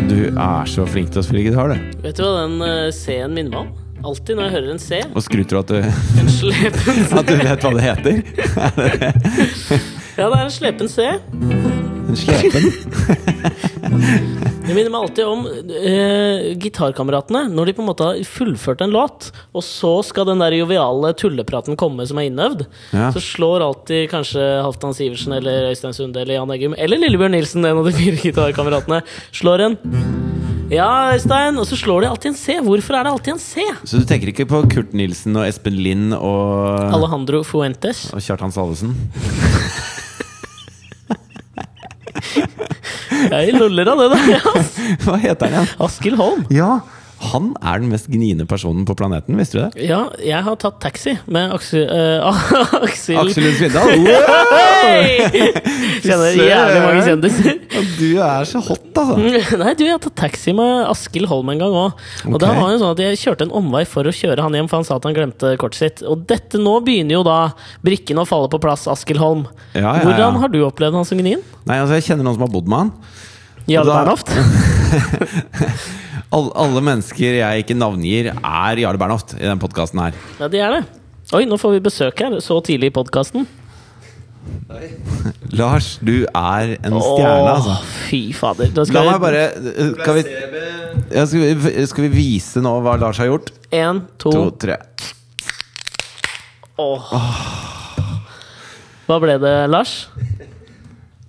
er så flink til å spille gitar, du. Vet du hva den eh, C-en minner meg om? Alltid når jeg hører en C, Og skryter du at du, en slepen C at du vet hva det heter? Ja, det er en slepen C. En slepen? Det minner meg alltid om eh, gitarkameratene. Når de på en måte har fullført en låt, og så skal den der joviale tullepraten komme som er innøvd, Ja. så slår alltid kanskje Halvdan Sivertsen eller Øystein Sunde eller Jan Eggum eller Lillebjørn Nilsen, en av de fire gitarkameratene, slår en Ja, Øystein! Og så slår de alltid en C. Hvorfor er det alltid en C? Så du tenker ikke på Kurt Nilsen og Espen Lind og, Alejandro Fuentes. og Kjartan Salvesen? Jeg loller av det der, ass! Hva heter han igjen? Askild Holm. Ja, han er den mest gniende personen på planeten, visste du det? Ja, jeg har tatt taxi med Aksel eh, Aksel Aksel Lund Svindal! Wow! Hei! Kjenner jævlig mange kjendiser. Du er så hot, altså! Nei, du, jeg har tatt taxi med Askild Holm en gang òg. Og da Ok. var det sånn at jeg kjørte en omvei for å kjøre han hjem, for han sa at han glemte kortet sitt. Og dette nå begynner jo da brikkene å falle på plass, Askild Holm. Ja, ja, ja. Hvordan har du opplevd han som gnien? Nei, altså, jeg kjenner noen som har bodd med han. Jarl Da- Bernhoft? Alle, alle mennesker jeg ikke navngir, er Jarle Bernhoft i den podkasten her. Ja, de er det. Oi, nå får vi besøk her, så tidlig i podkasten. Lars, du er en stjerne, altså. Åh, fy fader. Da La skal meg vi bare Skal vi, ja, skal vi, skal vi vise nå hva Lars har gjort? Én, to, To, tre. Åh. Hva ble det, Lars?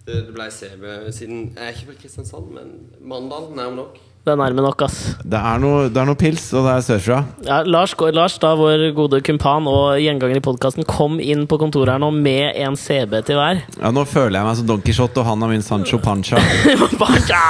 Det det ble CB siden Jeg er ikke fra Kristiansand, men Mandal nærme nok. Det er nærme nok, ass. Det er noe, det er noe pils, og det er sørfra. Ja, Lars, går- Lars, da vår gode kumpan og gjenganger i podkasten, kom inn på kontoret her nå med en CB til hver. Ja, nå føler jeg meg som Don Quijote, og han er min Sancho Pancha. Pancha!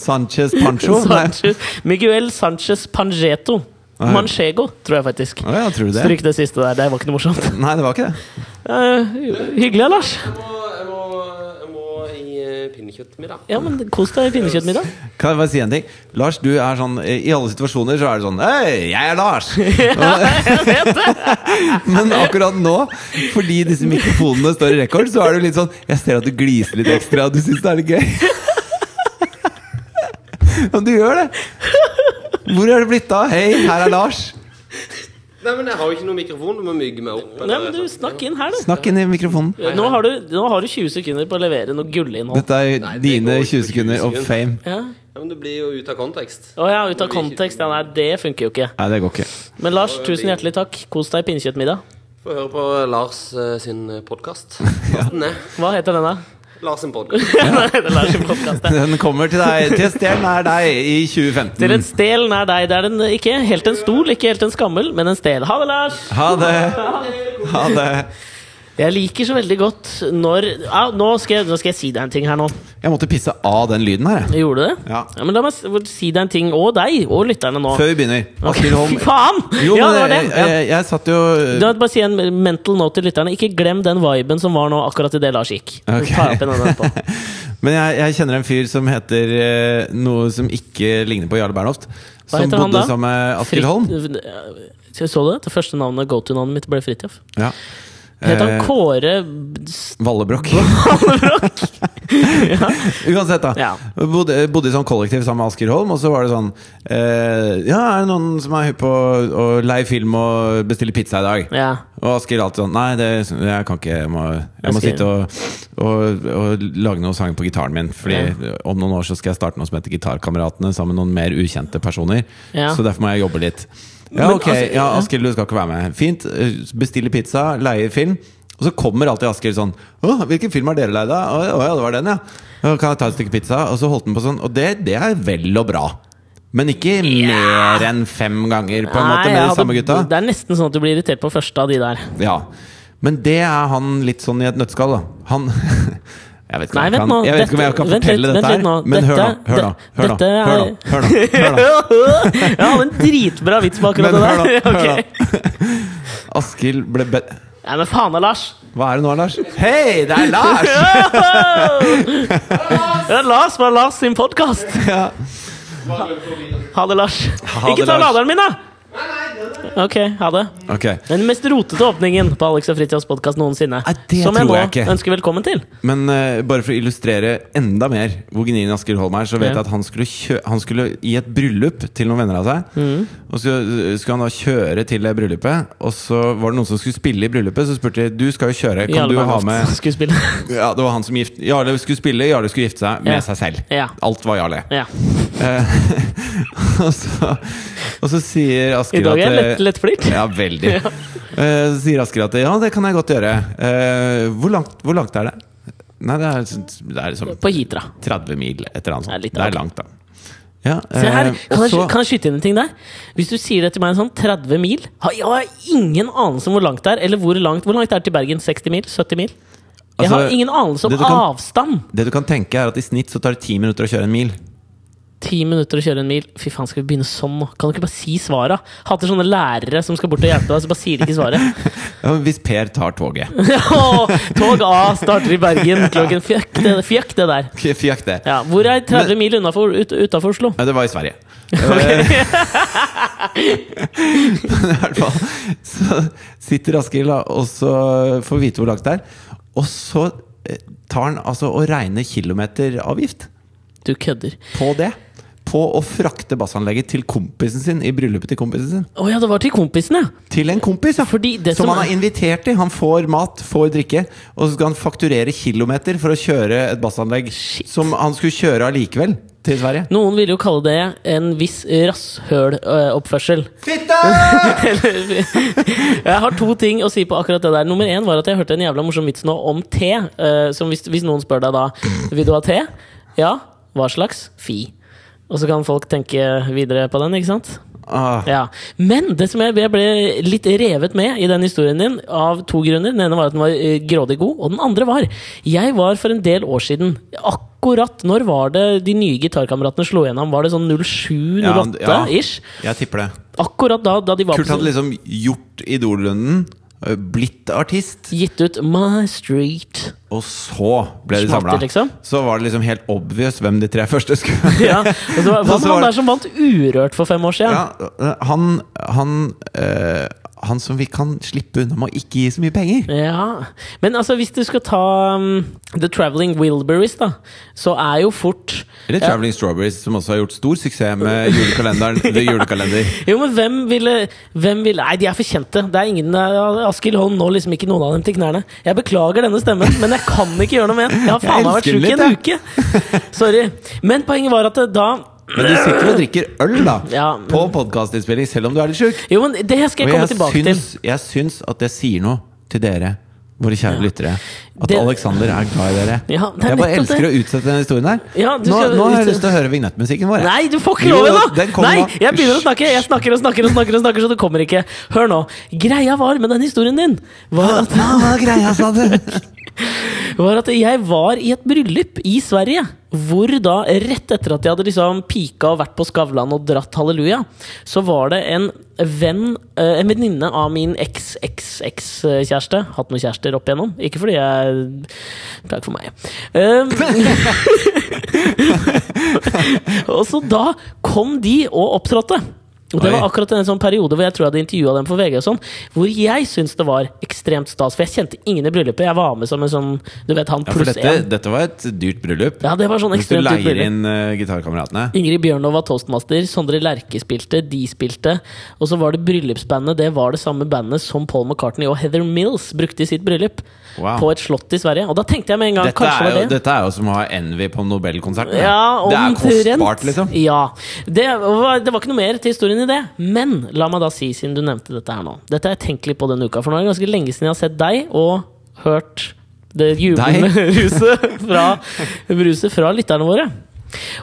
Sanchez Pancho? Nei. Ah, Sanchez, Miguel Sanchez Pangeto. Nei. Manchego, tror jeg faktisk. Å ja, tror du det? Stryk det siste der. Det var ikke noe morsomt. Nei, det var ikke det. Eh, hyggelig, Lars. Jeg må, jeg må, jeg må i eh, pinnekjøttmiddag. Ja, men Kos deg i pinnekjøttmiddag. Kan jeg bare si en ting? Lars, du er sånn I alle situasjoner så er det sånn Hei, jeg er Lars! Jeg vet det! Men akkurat nå, fordi disse mikrofonene står i rekord, så er du litt sånn Jeg ser at du gliser litt ekstra, og du syns det er litt gøy. Men du gjør det! Hvor er det blitt av? Hei, her er Lars. Nei, men jeg har jo ikke noen mikrofon. Du må mygge meg opp. Nei, men du, Snakk inn her, du. Snakk inn i mikrofonen. Nå har du, nå har du 20 sekunder på å levere noe gullinnhold. Dette er Nei, det dine går ikke 20 på sekunder 20 of fame. Ja. Ja, men det blir jo ut av kontekst. Å ja, ut av kontekst. Ja, nei, det funker jo ikke. Nei, det går ikke. Men Lars, tusen hjertelig takk. Kos deg i pinnekjøttmiddag. Få høre på Lars eh, sin podkast. Hva heter den, da? Lars sin podkast. Nei, det er Lars sin podcast, det. Den kommer til deg, til stjernen er deg, i Til en 2015. stel nær deg. Det er en, ikke helt en stol, ikke helt en skammel, men en stel. Ha det, Lars! Ha det. Ha det. Jeg liker så veldig godt når Au, nå, skal jeg, nå skal jeg si deg en ting her nå. Jeg måtte pisse av den lyden her, jeg. Gjorde du det? Ja. men la meg s- si deg en ting, og deg, og lytterne nå. Før vi begynner. Askild Holm. Fy faen! Jo, ja, det men var det. jeg, Ja. jeg, jeg satt jo Da bare si en mental note til lytterne. Ikke glem den viben som var nå, akkurat idet Lars gikk. Ok. Ta opp igjen den etterpå. Men jeg, jeg kjenner en fyr som heter eh, noe som ikke ligner på Jarle Bernhoft. Som heter han bodde da? sammen med Askild Holm. Frit- Så du det? Det første navnet, go-to-navnet mitt, ble Fridtjof. Ja. Het han Eh, Kåre Vallebrokk. Uansett, da. Ja. Bodde, bodde i sånn kollektiv sammen med Askild Holm, og så var det sånn eh, Ja, er det noen som er hypp på å leie film og bestille pizza i dag? Ja. Og Askild alltid sånn Nei, det, jeg kan ikke. Jeg må, jeg må Askild. sitte og, og, og lage noen sanger på gitaren min. Fordi om noen år så skal jeg starte noe som heter Gitarkameratene sammen med noen mer ukjente personer. Ja. Så derfor må jeg jobbe litt. Ja, Men ok. altså- ja, Askild, du skal ikke være med. Fint. Bestille pizza, leie film. Og så kommer alltid Askild sånn Å, hvilken film har dere leid av? Å å ja, det var den, ja. «Å, Kan jeg ta et stykke pizza? Og så holdt han på sånn. Og det, det er vel og bra. Men ikke mer enn fem ganger, på en måte, Nei, med jeg de hadde- samme gutta. Det er nesten sånn at du blir irritert på første av de der. Ja, men det er han litt sånn i et nøttskall, da. Han Jeg vet ikke om Nei, jeg vent kan, nå, jeg vet ikke om jeg dette- kan vent fortelle dette litt- vent her, litt nå. men hør nå. Dette- Hør nå, hør nå, dette er- hør nå, hør nå, hør nå. jeg hadde en dritbra vits på akkurat Men hør nå, det der. hør Ok. nå. Askild ble bedt Nei, men faen da, Lars! Hva er det nå, Lars? Hei, det er Lars! det er Lars fra Lars sin podkast. Ja. Ha det, Lars. det, Ikke ta Lars. laderen min, da! Ok, ha det. Ok. Den mest rotete åpningen på Alex og Fritjofs podkast noensinne. Nei, det som jeg tror nå jeg ikke. ønsker velkommen til. Men eh, bare for å illustrere enda mer hvor gnien Asker Holm er, så vet Ja. jeg at han skulle, kjø han skulle i et bryllup til noen venner av seg. Mm. Og så skulle han da kjøre til det bryllupet, og så var det noen som skulle spille i bryllupet. Så spurte de du skal jo kjøre, kan Jarle du ha Bernhoft, med skuespiller. Ja, det var han som gift Jarle skulle spille, Jarle skulle gifte seg med Ja. seg selv. Ja. Alt var Jarle. ja. Eh, og, så, og så sier Asker I dag er jeg at, eh, lett, lettflirt. Ja, veldig. Ja. Eh, Så sier Asker at ja, det kan jeg godt gjøre. Eh, hvor, langt, hvor langt er det? Nei, det er, det er liksom På Hitra. 30 mil, et eller annet Det er sånt. litt Det er langt, langt. da. Ja, Se her, eh, kan og jeg, så, kan jeg skyte inn en ting der? Hvis du sier det til meg sånn 30 mil har Jeg har ingen anelse om hvor langt det er. Eller hvor langt, hvor langt det er til Bergen? 60 mil? 70 mil? Jeg Altså, har ingen anelse om det du kan- avstand! det du kan tenke, er at i snitt så tar det 10 minutter å kjøre en mil. Ti minutter å kjøre en mil. Fy faen, skal vi begynne sånn nå? Kan du ikke bare si svara? Hater sånne lærere som skal bort og hjelpe deg, så bare sier de ikke svaret. Ja, men hvis Per tar toget. Mm. Åh, Tog A starter i Bergen klokken Fjøkk det, fjøkk det der. Ok, Fjakk det. Ja, hvor er 30 Men- mil unnafor, ut, utenfor Oslo? Nei, det var i Sverige. Eh, Men i hvert fall så sitter Askild da, og så får vite hvor langt det er. Og så eh, tar han altså og regner kilometeravgift Du kødder. på det. På å frakte bassanlegget til kompisen sin i bryllupet til kompisen sin. Å ja, det var til kompisen, ja. Til en kompis, ja! Fordi det som som han er- er invitert til. Han får mat, får drikke, og så skal han fakturere kilometer for å kjøre et bassanlegg Shit. som han skulle kjøre allikevel til Sverige. Noen ville jo kalle det en viss rasshøloppførsel. Jeg har to ting å si på akkurat det der. Nummer én var at jeg hørte en jævla morsom vits nå om te. eh, Som hvis, hvis noen spør deg da Vil du ha te, ja, hva slags? Fi. Og så kan folk tenke videre på den, ikke sant? Ah. Ja. Men det som jeg, jeg ble litt revet med i den historien din, av to grunner. Den ene var at den var eh, grådig god, og den andre var Jeg var for en del år siden Akkurat når var det de nye gitarkameratene slo gjennom? Var det sånn 07-08-ish? Ja, ja. Jeg tipper det. Akkurat da, da de var Kurt på hadde liksom gjort Idol-runden, ø, blitt artist, Gitt ut My Street. og så ble de Smakte, samla. liksom. Så var det liksom helt obvious hvem de tre første skulle Ja, og så var, Og så var var det han det- der som vant Urørt for fem år siden. ja, ø, Han, han, ø, han som vi kan slippe unna med å ikke gi så mye penger. Ja, Men altså, hvis du skal ta um, The Traveling Wilburys, da, så er jo fort Eller Traveling Strawberries, som også har gjort stor suksess med julekalenderen. The Julekalender. Jo, men hvem ville, hvem ville Nei, de er for kjente. Det er ingen eh, Askild Holm nå liksom ikke noen av dem til knærne. Jeg beklager denne stemmen, men jeg kan ikke gjøre noe med den. Jeg har faen meg vært elsker sjuk i den en uke. Sorry. Men poenget var at eh, da Men du sitter og drikker øl da Ja, men- på podkastinnspilling, selv om du er litt sjuk. Jo, men det skal jeg Og komme jeg tilbake syns, jeg syns at det sier noe til dere, våre kjære lyttere. At Det- Alexander er glad i dere. Ja, det er jeg bare nettopp elsker det. å utsette denne historien her. Ja, du nå, skal nå har jeg utsette- lyst til å høre vignettmusikken vår. jeg. Nei, du får ikke Jo, lov den ennå! kommer Nei, nå. jeg begynner å snakke. Jeg snakker og snakker og snakker, og snakker så det kommer ikke. Hør nå. Greia var med den historien din var at, Hva var greia, sa du? var at jeg var i et bryllup i Sverige. Hvor da, rett etter at jeg hadde liksom pika og vært på Skavlan og dratt halleluja, så var det en venn, eh, en venninne av min eks-eks-eks-kjæreste eh, Hatt noen kjærester opp igjennom. Ikke fordi jeg Takk for meg. Um, Og så da kom de og opptrådte. Og det Oi. var akkurat en sånn periode hvor jeg tror jeg hadde intervjua dem for VG. og sånn Hvor jeg syns det var ekstremt stas, for jeg kjente ingen i bryllupet. Jeg var med som en sånn Du vet, han Ja, for pluss dette, én. dette var et dyrt bryllup. Ja, det var sånn Hvis du ekstremt dyrt leier bryllup. inn eh, gitarkameratene. Ingrid Bjørnov var toastmaster, Sondre Lerche spilte, de spilte. Og så var det bryllupsbandet. Det var det samme bandet som Paul McCartney og Heather Mills brukte i sitt bryllup. Wow. På et slott i Sverige. Og da tenkte jeg med en gang Dette er, kanskje jo, var det. dette er jo som å ha Envy på Nobelkonsert. da. Ja, det er omtrent. kostbart, liksom. Ja. Det var, det var ikke noe mer til historien i det. Men la meg da si, siden du nevnte dette her nå Dette har jeg tenkt litt på denne uka, for nå er det ganske lenge siden jeg har sett deg og hørt det jublende ruset fra, bruset fra lytterne våre.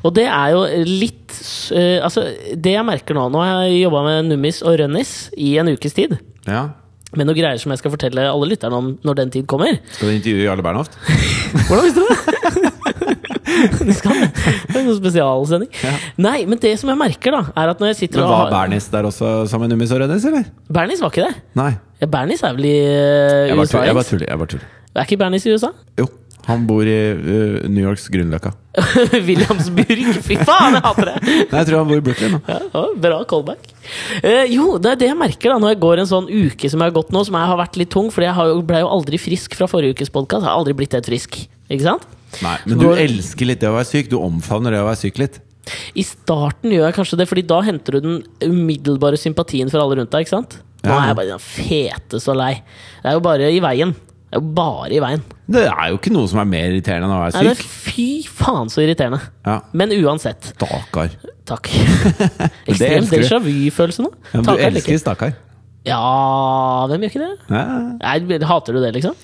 Og det er jo litt eh, Altså, det jeg merker nå Nå har jeg jobba med Nummis og Rønnis i en ukes tid. Ja. Med noen greier som jeg skal fortelle alle lytterne om når den tid kommer. Skal du intervjue Jarle Bernhoft? Hvordan visste du det? De skal det. Det er noen spesialsending. Nei, men det som jeg merker, da, er at når jeg sitter Men og var Bernis der også sammen med Nummis og Rønnis, eller? Bernis var ikke det. Nei. Ja, Bernis er vel i eh, Jeg bare USA? tuller. Jeg ikke? bare tuller. Jeg bare tuller. Er ikke Bernis i USA? Jo. Han bor i eh, New Yorks Grünerløkka. Williamsburg! Fy faen, jeg hater det! Nei, jeg tror han bor i Brooklyn. Da. Ja, det var bra callback. Eh, jo, det er det jeg merker da når jeg går en sånn uke som jeg har gått nå, som jeg har vært litt tung, Fordi jeg har jo- ble jo aldri frisk fra forrige ukes podkast. Har aldri blitt helt frisk. Ikke sant? Nei, men du elsker litt det å være syk. Du omfavner det å være syk litt. I starten gjør jeg kanskje det, Fordi da henter du den umiddelbare sympatien fra alle rundt deg. ikke sant? Nå Ja. er jeg bare den fete så lei. Det er jo bare i veien. Det er jo bare i veien. Det er jo ikke noe som er mer irriterende enn å Nei, være det er syk. fy faen så irriterende. Ja, Men uansett. Stakkar. Takk. elsker Ekstremt du. déjà vu-følelse Ja, nå. men Taker du eller elsker ikke? stakkar. Ja, hvem gjør ikke det? Ja. Nei, hater du det, liksom?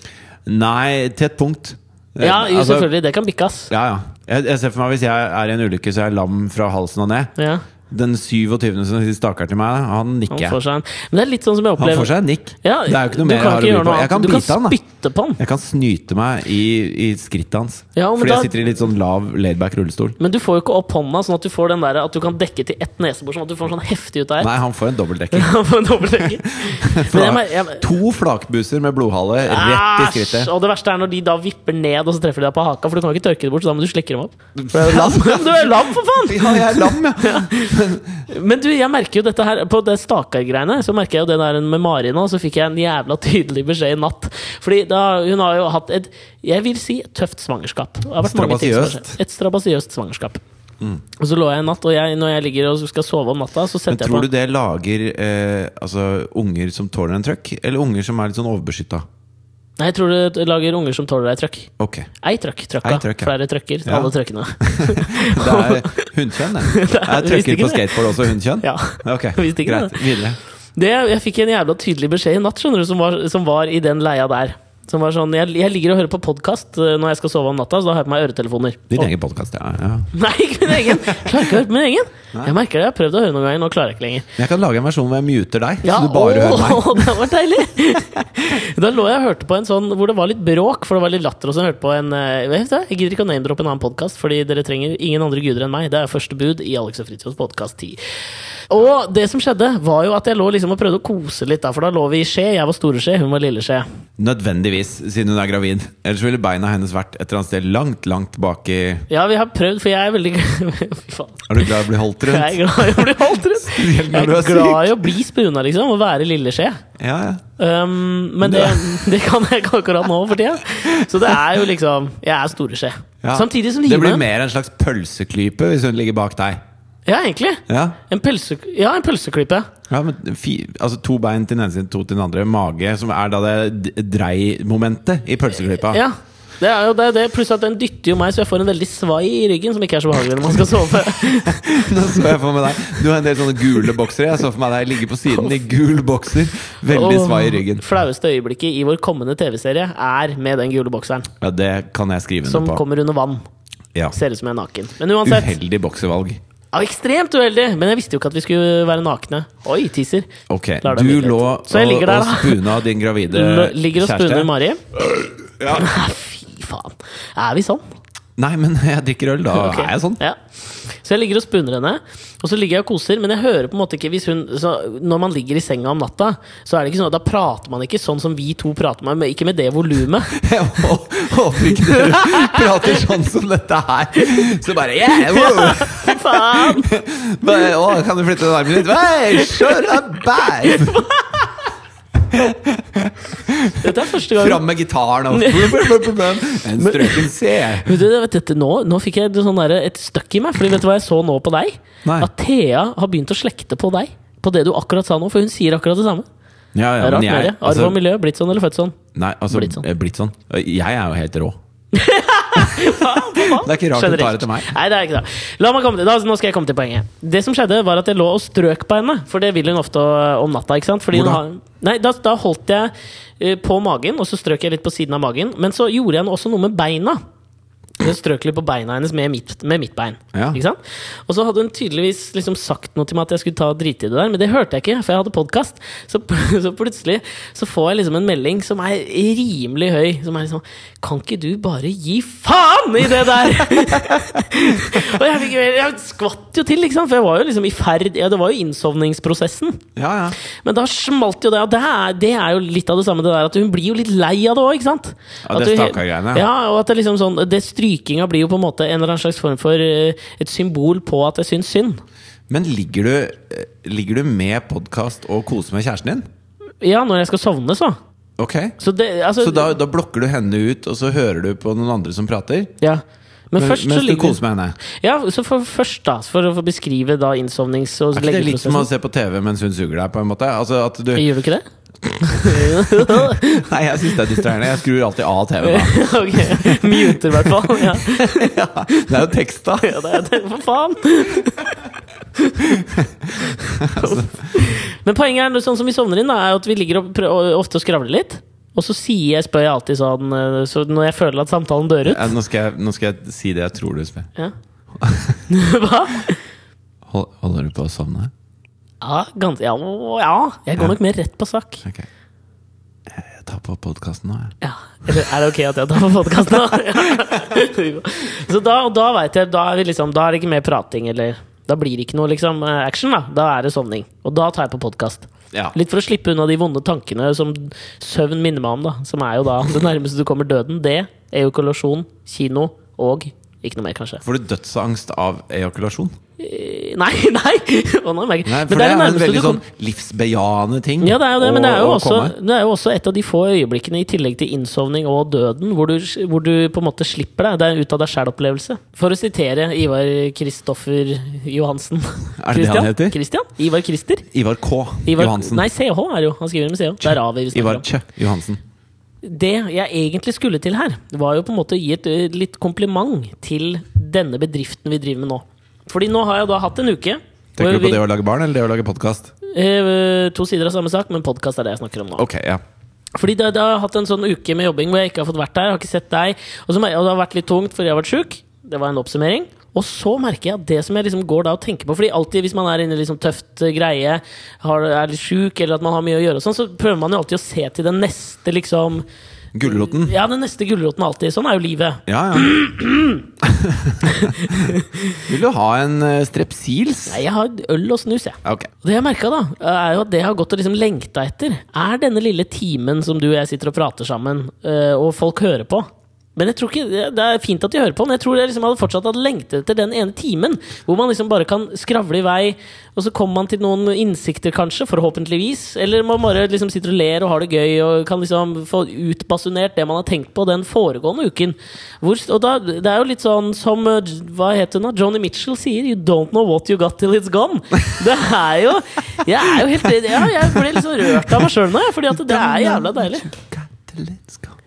Nei, til et punkt. Eh, Ja, jo, altså, selvfølgelig. Det kan bikke, ass. Ja, ja. Jeg, jeg ser for meg Hvis jeg er i en ulykke, så er jeg lam fra halsen og ned. Ja, Den 27. som sier stakkar til meg, han han nikker. jeg. får seg en Men det er litt sånn som Han jeg opplever får seg en nikk. Ja, det er jo ikke noe du mer jeg har kan å ikke by gjøre på. noe Jeg kan annet. Du kan bite han, da. spytte på han. Jeg kan snyte meg i, i skrittet hans. Ja, men fordi da- jeg sitter i litt sånn lav laidback rullestol. Men du får jo ikke opp hånda, sånn at du får den der, at du kan dekke til ett nesebor. Sånn at du får sånn heftig ut der. Nei, han får en dobbeltdekker. På en dobbeltdekker. Men jeg, mer- jeg, To flakbuser med blodhale rett i Æsj! skrittet. Og det verste er når de da vipper ned, og så treffer de deg på haka. For du kan jo ikke tørke det bort, så da må du slikke dem opp. For det er jo lam. Du er jo lam, for faen! Ja, jeg er lam, ja! Men du, jeg merker jo dette her På det stakargreiene, så merker jeg jo det der med Mari nå, så fikk jeg en jævla tydelig beskjed i natt. Fordi da, hun har jo hatt et, jeg vil si, et tøft svangerskap. Det har vært mange ting som Strabasiøst. har Mm. skjedd. Et strabasiøst svangerskap. Og så lå jeg i natt, og jeg, når jeg ligger og skal sove om natta, så Men setter jeg tror på du det lager eh, altså, unger som tåler en trøkk, eller unger som er litt sånn overbeskytta? Nei, jeg tror det lager unger som tåler ei trøkk. Ok. Ei trøkk, trøkka. Ei trøkk, ja. Flere trøkker. Ja. Alle trøkkene. Det er hundkjønn, det. Det er- Jeg visste trøkker ikke på det. skateboard også hundkjønn? Ja. Ok, Visste ikke greit. Videre. Det, jeg fikk en jævla tydelig beskjed i natt, skjønner du, som var, som var i den leia der. Som var sånn, jeg, jeg ligger og hører på podkast når jeg skal sove om natta, så da har jeg på meg øretelefoner. Din Og- egen podkast, ja. ja. Nei, ikke min egen! Klarer ikke å høre på min egen! Jeg merker det, jeg har prøvd å høre noen ganger, nå klarer jeg ikke lenger. Men Jeg kan lage en versjon hvor jeg muter deg, Ja, så du bare hører meg. åh, det var deilig! da lå jeg og hørte på en sånn hvor det var litt bråk, for det var litt latter. Og så hørte jeg på en eh, vet du, Jeg gidder ikke å name-droppe en annen podkast, fordi dere trenger ingen andre guder enn meg. Det er første bud i Alex og Fritjofs podkast 10. Og det som skjedde, var jo at jeg lå liksom og prøvde å kose litt, da, for da lå vi i Skje. Jeg var store Skje, hun var lille Skje. Nødvendigvis, siden hun er gravid. Ellers ville beina hennes vært et eller annet sted langt, langt baki Ja, vi har prøvd, for jeg er veldig Fy faen. Er du glad i å bli holdt rundt? Jeg er glad i å bli holdt rundt. Jeg Spesielt når du er er syk. glad i å bli spuna, liksom. Å være lille Skje. Ja, ja. Um, men det, det kan jeg ikke akkurat nå for tida. Så det er jo liksom Jeg er store skje. ja. Samtidig som det det gir blir meg mer en slags pølseklype hvis hun ligger bak deg. Ja, egentlig. Ja, En, pølse, ja, en pølseklype. ja men fi, altså To bein til den ene siden, to til den andre. Mage, som er da det d- dreimomentet i pølseklypa. Ja. Det er jo det, det, Pluss at den dytter jo meg, så jeg får en veldig svai i ryggen, som ikke er så behagelig når man skal sove. Nå så jeg for meg deg Du har en del sånne gule boksere. Jeg så for meg deg ligge på siden i gul bokser. Veldig Og svai i ryggen. Flaueste øyeblikket i vår kommende TV-serie er med den gule bokseren. Ja, Det kan jeg skrive Som under på. kommer under vann. Ja. Ser ut som jeg er naken. Men uansett. Uheldig boksevalg. Ja, ekstremt uheldig! Men jeg visste jo ikke at vi skulle være nakne. Oi, teaser. Ok, Lar det Du ligge litt. lå Så jeg og, ligger der, og da. spuna din gravide L- Ligger og kjæreste. spunner Mari. Ah, Ja. Fy faen. Er vi sånn? Nei, men jeg drikker øl, da Ok. er jeg sånn. Ja. Så jeg ligger og spunner henne, og så ligger jeg og koser. Men jeg hører på en måte ikke hvis hun så Når man ligger i senga om natta, så er det ikke sånn at da prater man ikke sånn som vi to prater med, men ikke med det volumet. Jeg hå- håper ikke dere prater sånn som dette her. Så bare yeah, wow. Faen! Bare, Å, kan du flytte den armen litt? Hey, shut up, bye. Dette er første gang Fram med gitaren og En strøken C. Vet du, vet dette, nå, nå fikk jeg et sånn der, et støkk i meg, Fordi vet du hva jeg så nå på deg? Nei. At Thea har begynt å slekte på deg. På det du akkurat sa nå, for hun sier akkurat det samme. Ja, Det er ja, rart men med det. jeg, Arv altså, og miljø, blitt sånn eller født sånn. nei, altså, Blitt sånn. eh, blitt sånn. Jeg er jo helt rå. Det er ikke rart hun tar det til meg. Nei, det er ikke det. La meg komme til, da, nå skal jeg komme til poenget. Det som skjedde, var at jeg lå og strøk på henne. For det vil hun ofte øh, om natta. ikke sant? Fordi Hvor da? hun har- nei, da, da holdt eh, jeg øh, på magen, og så strøk jeg litt på siden av magen. Men så gjorde jeg noe- også noe med beina. Jeg strøk litt på beina hennes med mitt, med mitt bein. Ja. Ikke sant? Og så hadde hun tydeligvis liksom sagt noe til meg at jeg skulle ta og drite i det der, men det hørte jeg ikke, for jeg hadde podkast. Så, pl- så plutselig så får jeg liksom en melding som er rimelig høy, som er liksom Kan ikke du bare gi faen i det der?! og jeg, fikk, jeg skvatt jo til, ikke sant, for jeg var jo liksom i ferd ja, Det var jo innsovningsprosessen. Ja, ja. Men da smalt jo det, og det er, det er jo litt av det samme det der, at hun blir jo litt lei av det òg, ikke sant? Ja, det At hun- stakkar-greiene. Ja, og at det liksom sånn, det strykinga blir jo på en måte en eller annen slags form for eh, et symbol på at jeg syns synd. Men ligger du, eh, ligger du med podkast og koser med kjæresten din? Ja, når jeg skal sovne, så. Ok Så det, altså Så da, da blokker du henne ut, og så hører du på noen andre som prater? Ja. Men Men- først så mens du ligger koser med henne? Ja, så for, først, da, for å få beskrive da innsovnings- og Er ikke det litt som å leggeprosessen. se på TV mens hun suger deg, på en måte? Altså at du Gjør du ikke det? Nei, jeg syns det er distraherende. Jeg skrur alltid av TV, da. ok. Muter, i hvert fall. Ja. Ja, det er jo tekst, da. Ja, det er det, for faen! Men poenget er, sånn som vi sovner inn, da, er jo at vi ligger og prø- ofte og skravler litt. Og så sier jeg, spør jeg alltid sånn eh, så Når jeg føler at samtalen dør ut Ja, Nå skal, jeg, nå skal jeg si det jeg tror du spør. ja. Hva? Hold, holder du på å sovne? Ja, gans, ja, å, ja, jeg går nok mer rett på sak. Ok. Jeg jeg tar på podkasten nå, jeg. Ja. Er det er det ok at jeg tar på podkasten nå? Så da, og da vet jeg da er, vi liksom, da er det ikke mer prating, eller Da blir det ikke noe liksom, eh, action, da. Da er det sovning. Og da tar jeg på podkast. Ja. Litt for å slippe unna de vonde tankene som søvn minner meg om, da. Som er jo da det nærmeste du kommer døden. Det, ejakulasjon, kino og ikke noe mer, kanskje. Får du dødsangst av ejakulasjon? Eh, Nei, nei! Å, nå merker jeg- Nei, men for det er det en nærmeste veldig du sånn kommer. livsbejaende ting. Ja, det er jo det, men det er jo, å- å også, komme. det er jo også et av de få øyeblikkene i tillegg til innsovning og døden hvor du, hvor du på en måte slipper deg. Det er en ut av deg sjæl-opplevelse. For å sitere Ivar Kristoffer Johansen. Er det det han heter? Christian? Ivar Christer? Ivar K. Ivar, Johansen. Nei, CH er det jo. Han skriver med CH. Det er Ravi vi snakker om. Ivar Kjø Johansen. Det jeg egentlig skulle til her, var jo på en måte å gi et ø, litt kompliment til denne bedriften vi driver med nå. Fordi nå har jeg da hatt en uke. Tenker du hvor på det vi- å lage barn eller det å lage podkast? ø, To sider av samme sak, men podkast er det jeg snakker om nå. Ok, ja. Fordi da, da har jeg hatt en sånn uke med jobbing hvor jeg ikke har fått vært der. Har ikke sett deg Og, så, mer- og det har vært litt tungt fordi jeg har vært sjuk. Det var en oppsummering. Og så merker jeg at det som jeg liksom går da og tenker på Fordi alltid hvis man er inne i liksom tøft eh, greie, har, er litt sjuk eller at man har mye å gjøre, og sånn, så prøver man jo alltid å se til den neste liksom Gulroten. Ja, den neste gulroten er alltid. Sånn er jo livet. Ja, ja. Vil du ha en eh, strepsils? Nei, jeg har øl og snus, jeg. Ok. Og det jeg merka, da, er jo at det jeg har gått og liksom lengta etter, er denne lille timen som du og jeg sitter og prater sammen, øh, og folk hører på. Men jeg tror ikke, det- Det er fint at de hører på, men jeg tror jeg liksom hadde fortsatt hatt lengtet etter den ene timen. Hvor man liksom bare kan skravle i vei, og så kommer man til noen innsikter, kanskje. Forhåpentligvis. Eller man bare liksom sitter og ler og har det gøy og kan liksom få utbasunert det man har tenkt på den foregående uken. Hvor, og da, Det er jo litt sånn som eh, Hva heter hun da? Joni Mitchell sier 'You don't know what you got till it's gone'. Det er jo Jeg er jo helt ja, Jeg ble liksom rørt av meg sjøl nå, jeg, fordi at det er jævla deilig.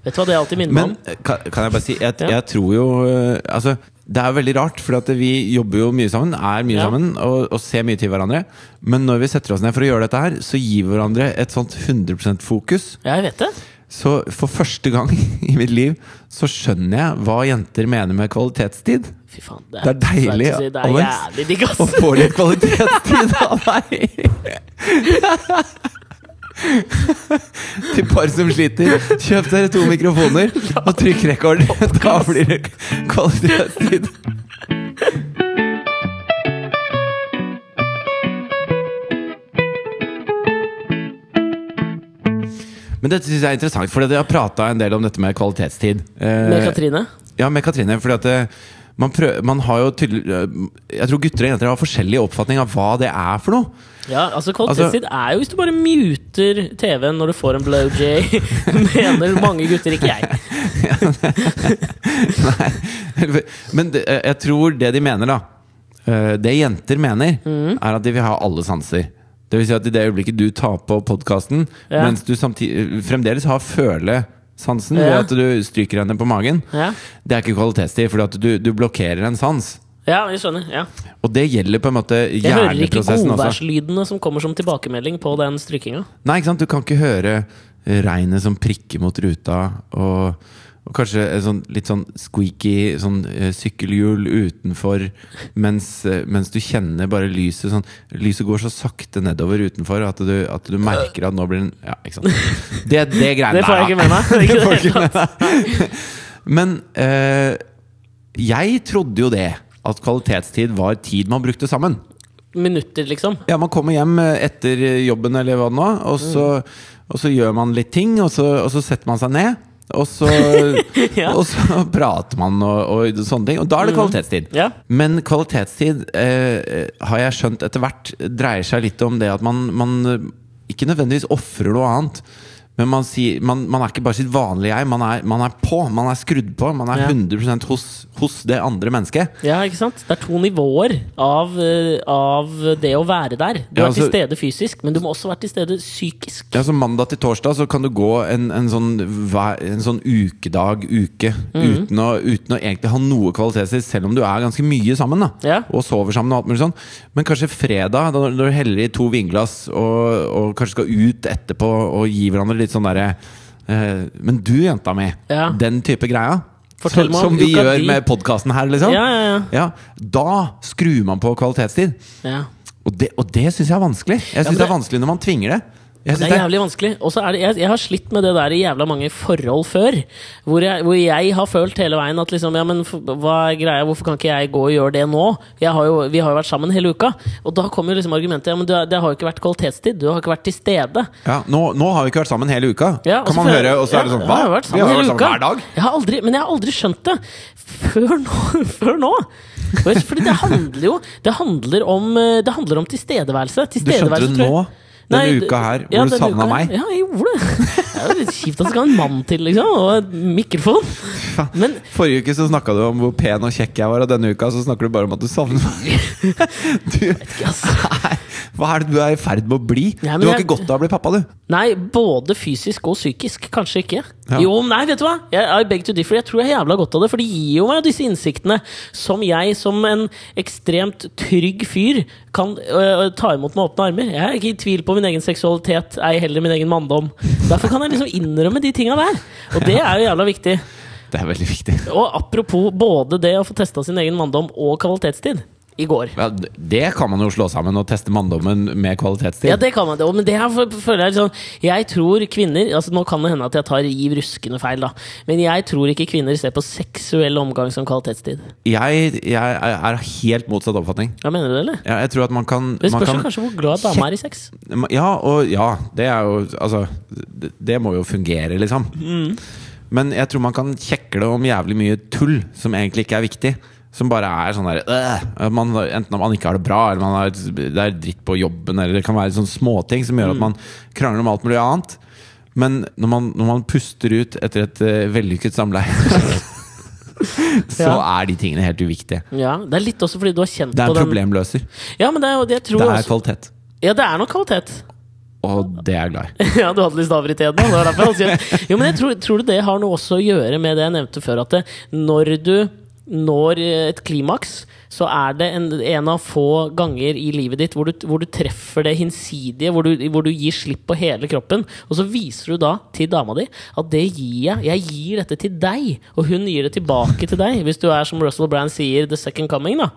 Vet du hva det alltid minner meg Men om? eh, kan, kan jeg bare si, jeg, Ja. jeg tror jo eh, Altså, det er jo veldig rart, for at vi jobber jo mye sammen, er mye Ja. sammen og, og ser mye til hverandre. Men når vi setter oss ned for å gjøre dette her, så gir vi hverandre et sånt 100 fokus. Ja, jeg vet det. Så for første gang i mitt liv så skjønner jeg hva jenter mener med kvalitetstid. Fy faen. Det er deilig, svært å si. Det er Alex. jævlig digg, Og ass. får litt kvalitetstid av deg! Til par som sliter, kjøp dere to mikrofoner og trykk rekord. Da blir det kvalitetstid. Men dette synes jeg er interessant, for jeg har prata en del om dette med kvalitetstid. Med Eh, Katrine. ja, med Katrine, fordi at eh, man, prøv, man har jo tydelig Jeg tror gutter og jenter har forskjellig oppfatning av hva det er for noe. Ja, altså Kvalitetstid er jo hvis du bare muter TV-en når du får en blowjay, mener mange gutter, ikke jeg. Men det, eh, jeg tror det de mener, da eh, Det jenter mener, Mm. er at de vil ha alle sanser. Det vil si at i det øyeblikket du tar på podkasten, Ja. mens du samtidig fremdeles har følesansen ved Ja. at du stryker henne på magen, Ja. det er ikke kvalitetstid, fordi at du, du blokkerer en sans. Ja, jeg skjønner. ja Og det gjelder på en måte Jeg hører ikke hjerneprosessen også. godværslydene som kommer som tilbakemelding på den strykkinga. eh, Nei, ikke sant? Du kan ikke høre regnet som prikker mot ruta, og, Og kanskje en sånn, litt sånn squeaky sånn, eh, sykkelhjul utenfor, mens, eh, mens du kjenner bare lyset sånn, Lyset går så sakte nedover utenfor at du, at du merker at nå blir den Ja, ikke sant. Det, det greiene Det får jeg ikke med meg. Det får Ikke jeg ikke med meg. Men eh, jeg trodde jo det. At kvalitetstid var tid man brukte sammen. Minutter, liksom. Ja, man kommer hjem eh, etter jobben eller hva det nå, og så, Mm. og så gjør man litt ting, og så, og så setter man seg ned. Og så, Ja. Mm. og så prater man og, og sånne ting. Og da er det kvalitetstid. Ja. Men kvalitetstid eh, har jeg skjønt etter hvert dreier seg litt om det at man, man eh, ikke nødvendigvis ofrer noe annet. Men man, sier, man, man er ikke bare sitt vanlige jeg. Man er, man er på. Man er skrudd på. Man er Ja. 100 hos, hos det andre mennesket. Ja, ikke sant? Det er to nivåer av, eh, av det å være der. Du Ja, er til altså- stede fysisk, men du må også være til stede psykisk. Ja, så Mandag til torsdag så kan du gå en, en, sånn, hver- en sånn ukedag, uke, Mhm. uten, å, uten å egentlig ha noe kvalitetstid, selv om du er ganske mye sammen. da Ja. Og sover sammen og alt mulig sånn. Men kanskje fredag, da når du heller i to vinglass og, og kanskje skal ut etterpå og gi hverandre litt sånn derre eh, Men du, jenta mi. Ja. Den type greia. Fortell meg om som vi uka gjør di. med podkasten her, liksom. Ja, ja, Ja, Da skrur man på kvalitetstid. Ja. Og det, og det syns jeg er vanskelig. Jeg syns men det er det- vanskelig når man tvinger det. Jeg Det synes er jævlig vanskelig. Og så er det, jeg, jeg har slitt med det der i jævla mange forhold før. Hvor jeg, hvor jeg har følt hele veien at liksom, ja, men f- hva er greia, hvorfor kan ikke jeg gå og gjøre det nå? Jeg har jo, vi har jo vært sammen hele uka. Og da kommer jo liksom argumentet ja, men du, er- det har jo ikke vært kvalitetstid. Du har ikke vært til stede. Ja, nå, nå har vi ikke vært sammen hele uka. Ja, og kan så man får jeg- høre, og så er det ja, sånn jeg Hva? har vi vært sammen har vært hele sammen uka. hver dag! Jeg har aldri, men jeg har aldri skjønt det før nå. Før nå. Og jeg- Fordi det handler jo Det handler om, eh, det handler om tilstedeværelse. Du skjønte tilstedeværelse det tror jeg- nå? Denne Nei, uka her, hvor ja, du denne savna uka her. meg? Ja, jeg gjorde det. Det er jo litt kjipt at det skal en mann til, liksom. Og en mikrofon. Men Forrige uke så snakka du om hvor pen og kjekk jeg var, og denne uka så snakker du bare om at du savner meg. Du, yes. nei, hva er det du er i ferd med å bli? altså. Nei, men du har jeg- ikke godt av å bli pappa, du. Nei, både fysisk og psykisk. Kanskje ikke. Ja. Jo, nei, vet du hva? Jeg, I beg to differ. Jeg tror jeg har jævla godt av det. For det gir jo meg disse innsiktene som jeg, som en ekstremt trygg fyr, kan øh, ta imot med åpne armer. Jeg er ikke i tvil på min egen seksualitet, ei heller min egen manndom. Derfor kan jeg liksom innrømme de tinga der. Og det er jo jævla viktig. Det er veldig viktig. Og apropos både det å få testa sin egen manndom og kvalitetstid. I går. Ja, det kan man jo slå sammen og teste manndommen med kvalitetstid. Ja, det kan man. Og- Men det her f- føler jeg litt sånn Jeg tror kvinner altså Nå kan det hende at jeg tar riv ruskende feil, da. Men jeg tror ikke kvinner ser på seksuell omgang som kvalitetstid. jeg, jeg er er av helt motsatt oppfatning. Ja, mener du det, eller? Ja, Jeg tror at man kan Det man spørs jo kan- kanskje hvor glad dama er i sex. Ja, og ja, det er jo Altså, det, det må jo fungere, liksom. Men jeg tror man kan kjekle om jævlig mye tull som egentlig ikke er viktig. Som bare er sånn der øh, at man, Enten om man ikke har det bra, eller man har, det er dritt på jobben, eller det kan være sånne småting som Mm. gjør at man krangler om alt mulig annet. Men når man, når man puster ut etter et eh, vellykket samleie, så Ja. er de tingene helt uviktige. Ja, Det er litt også fordi du har kjent Det er en på den problemløser. Ja, men det er jo det jeg tror Det er også. kvalitet. Ja, det er nok kvalitet. Og det er jeg glad i. ja, du hadde litt staver i teden. da, det var derfor jeg hadde skrevet. Jo, men jeg tror, tror du det har noe også å gjøre med det jeg nevnte før, at det, når du når eh, et klimaks, så er det en, en av få ganger i livet ditt hvor du, hvor du treffer det hinsidige, hvor du, hvor du gir slipp på hele kroppen. Og så viser du da til dama di at det gir jeg. Jeg gir dette til deg, og hun gir det tilbake til deg. Hvis du er, som Russell Brand sier, the second coming, da.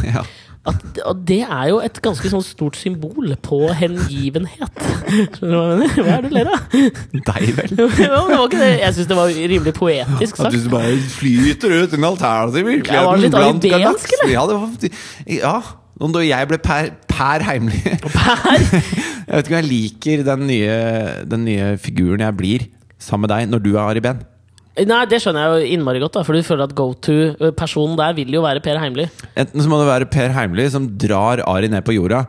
Ja. At, og det er jo et ganske sånn stort symbol på hengivenhet. Skjønner du hva jeg mener? Hva er det du ler av? Deg, vel? Ja, men det var ikke det. Jeg syns det var rimelig poetisk At sagt. du bare flyter ut en alternativ virkelighet Ja, var det litt blant aridensk, galakser. Ja, det var, ja. Og da jeg ble Per, per Heimly Jeg Per! vet ikke om jeg liker den nye, den nye figuren jeg blir sammen med deg når du er Ari Behn. Nei, det skjønner jeg jo innmari godt, da, for du føler at go to-personen der vil jo være Per Heimly. Enten så må det være Per Heimly som drar Ari ned på jorda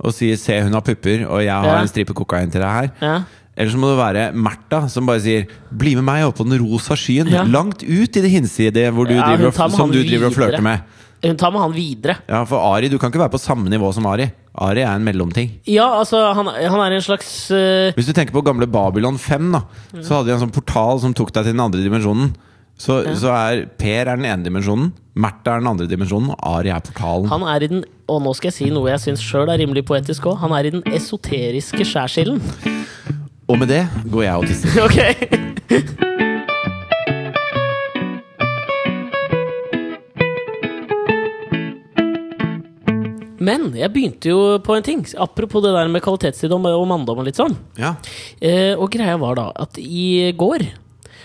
og sier 'se, hun har pupper, og jeg har Ja. en stripe kokain til deg her'. Ja. Eller så må det være Märtha som bare sier 'bli med meg opp på den rosa skyen', Ja. langt ut i det hinsidige hvor du Ja, hun driver, og- tar med som han du driver og videre. flørter med. Hun tar med han videre. Ja, for Ari, du kan ikke være på samme nivå som Ari. Ari er en mellomting. Ja, altså, han, han er en slags eh, Hvis du tenker på gamle Babylon 5, da, så hadde de en sånn portal som tok deg til den andre dimensjonen. Så, så er Per er den ene dimensjonen, Märtha er den andre dimensjonen, og Ari er portalen. Han er i den Og nå skal jeg si noe jeg syns sjøl er rimelig poetisk òg. Han er i den esoteriske skjærsilden. Og med det går jeg og tisser. Ok! Men jeg begynte jo på en ting. Apropos det der med kvalitetstid og og manndom og litt sånn. Ja. Eh, og greia var da at i går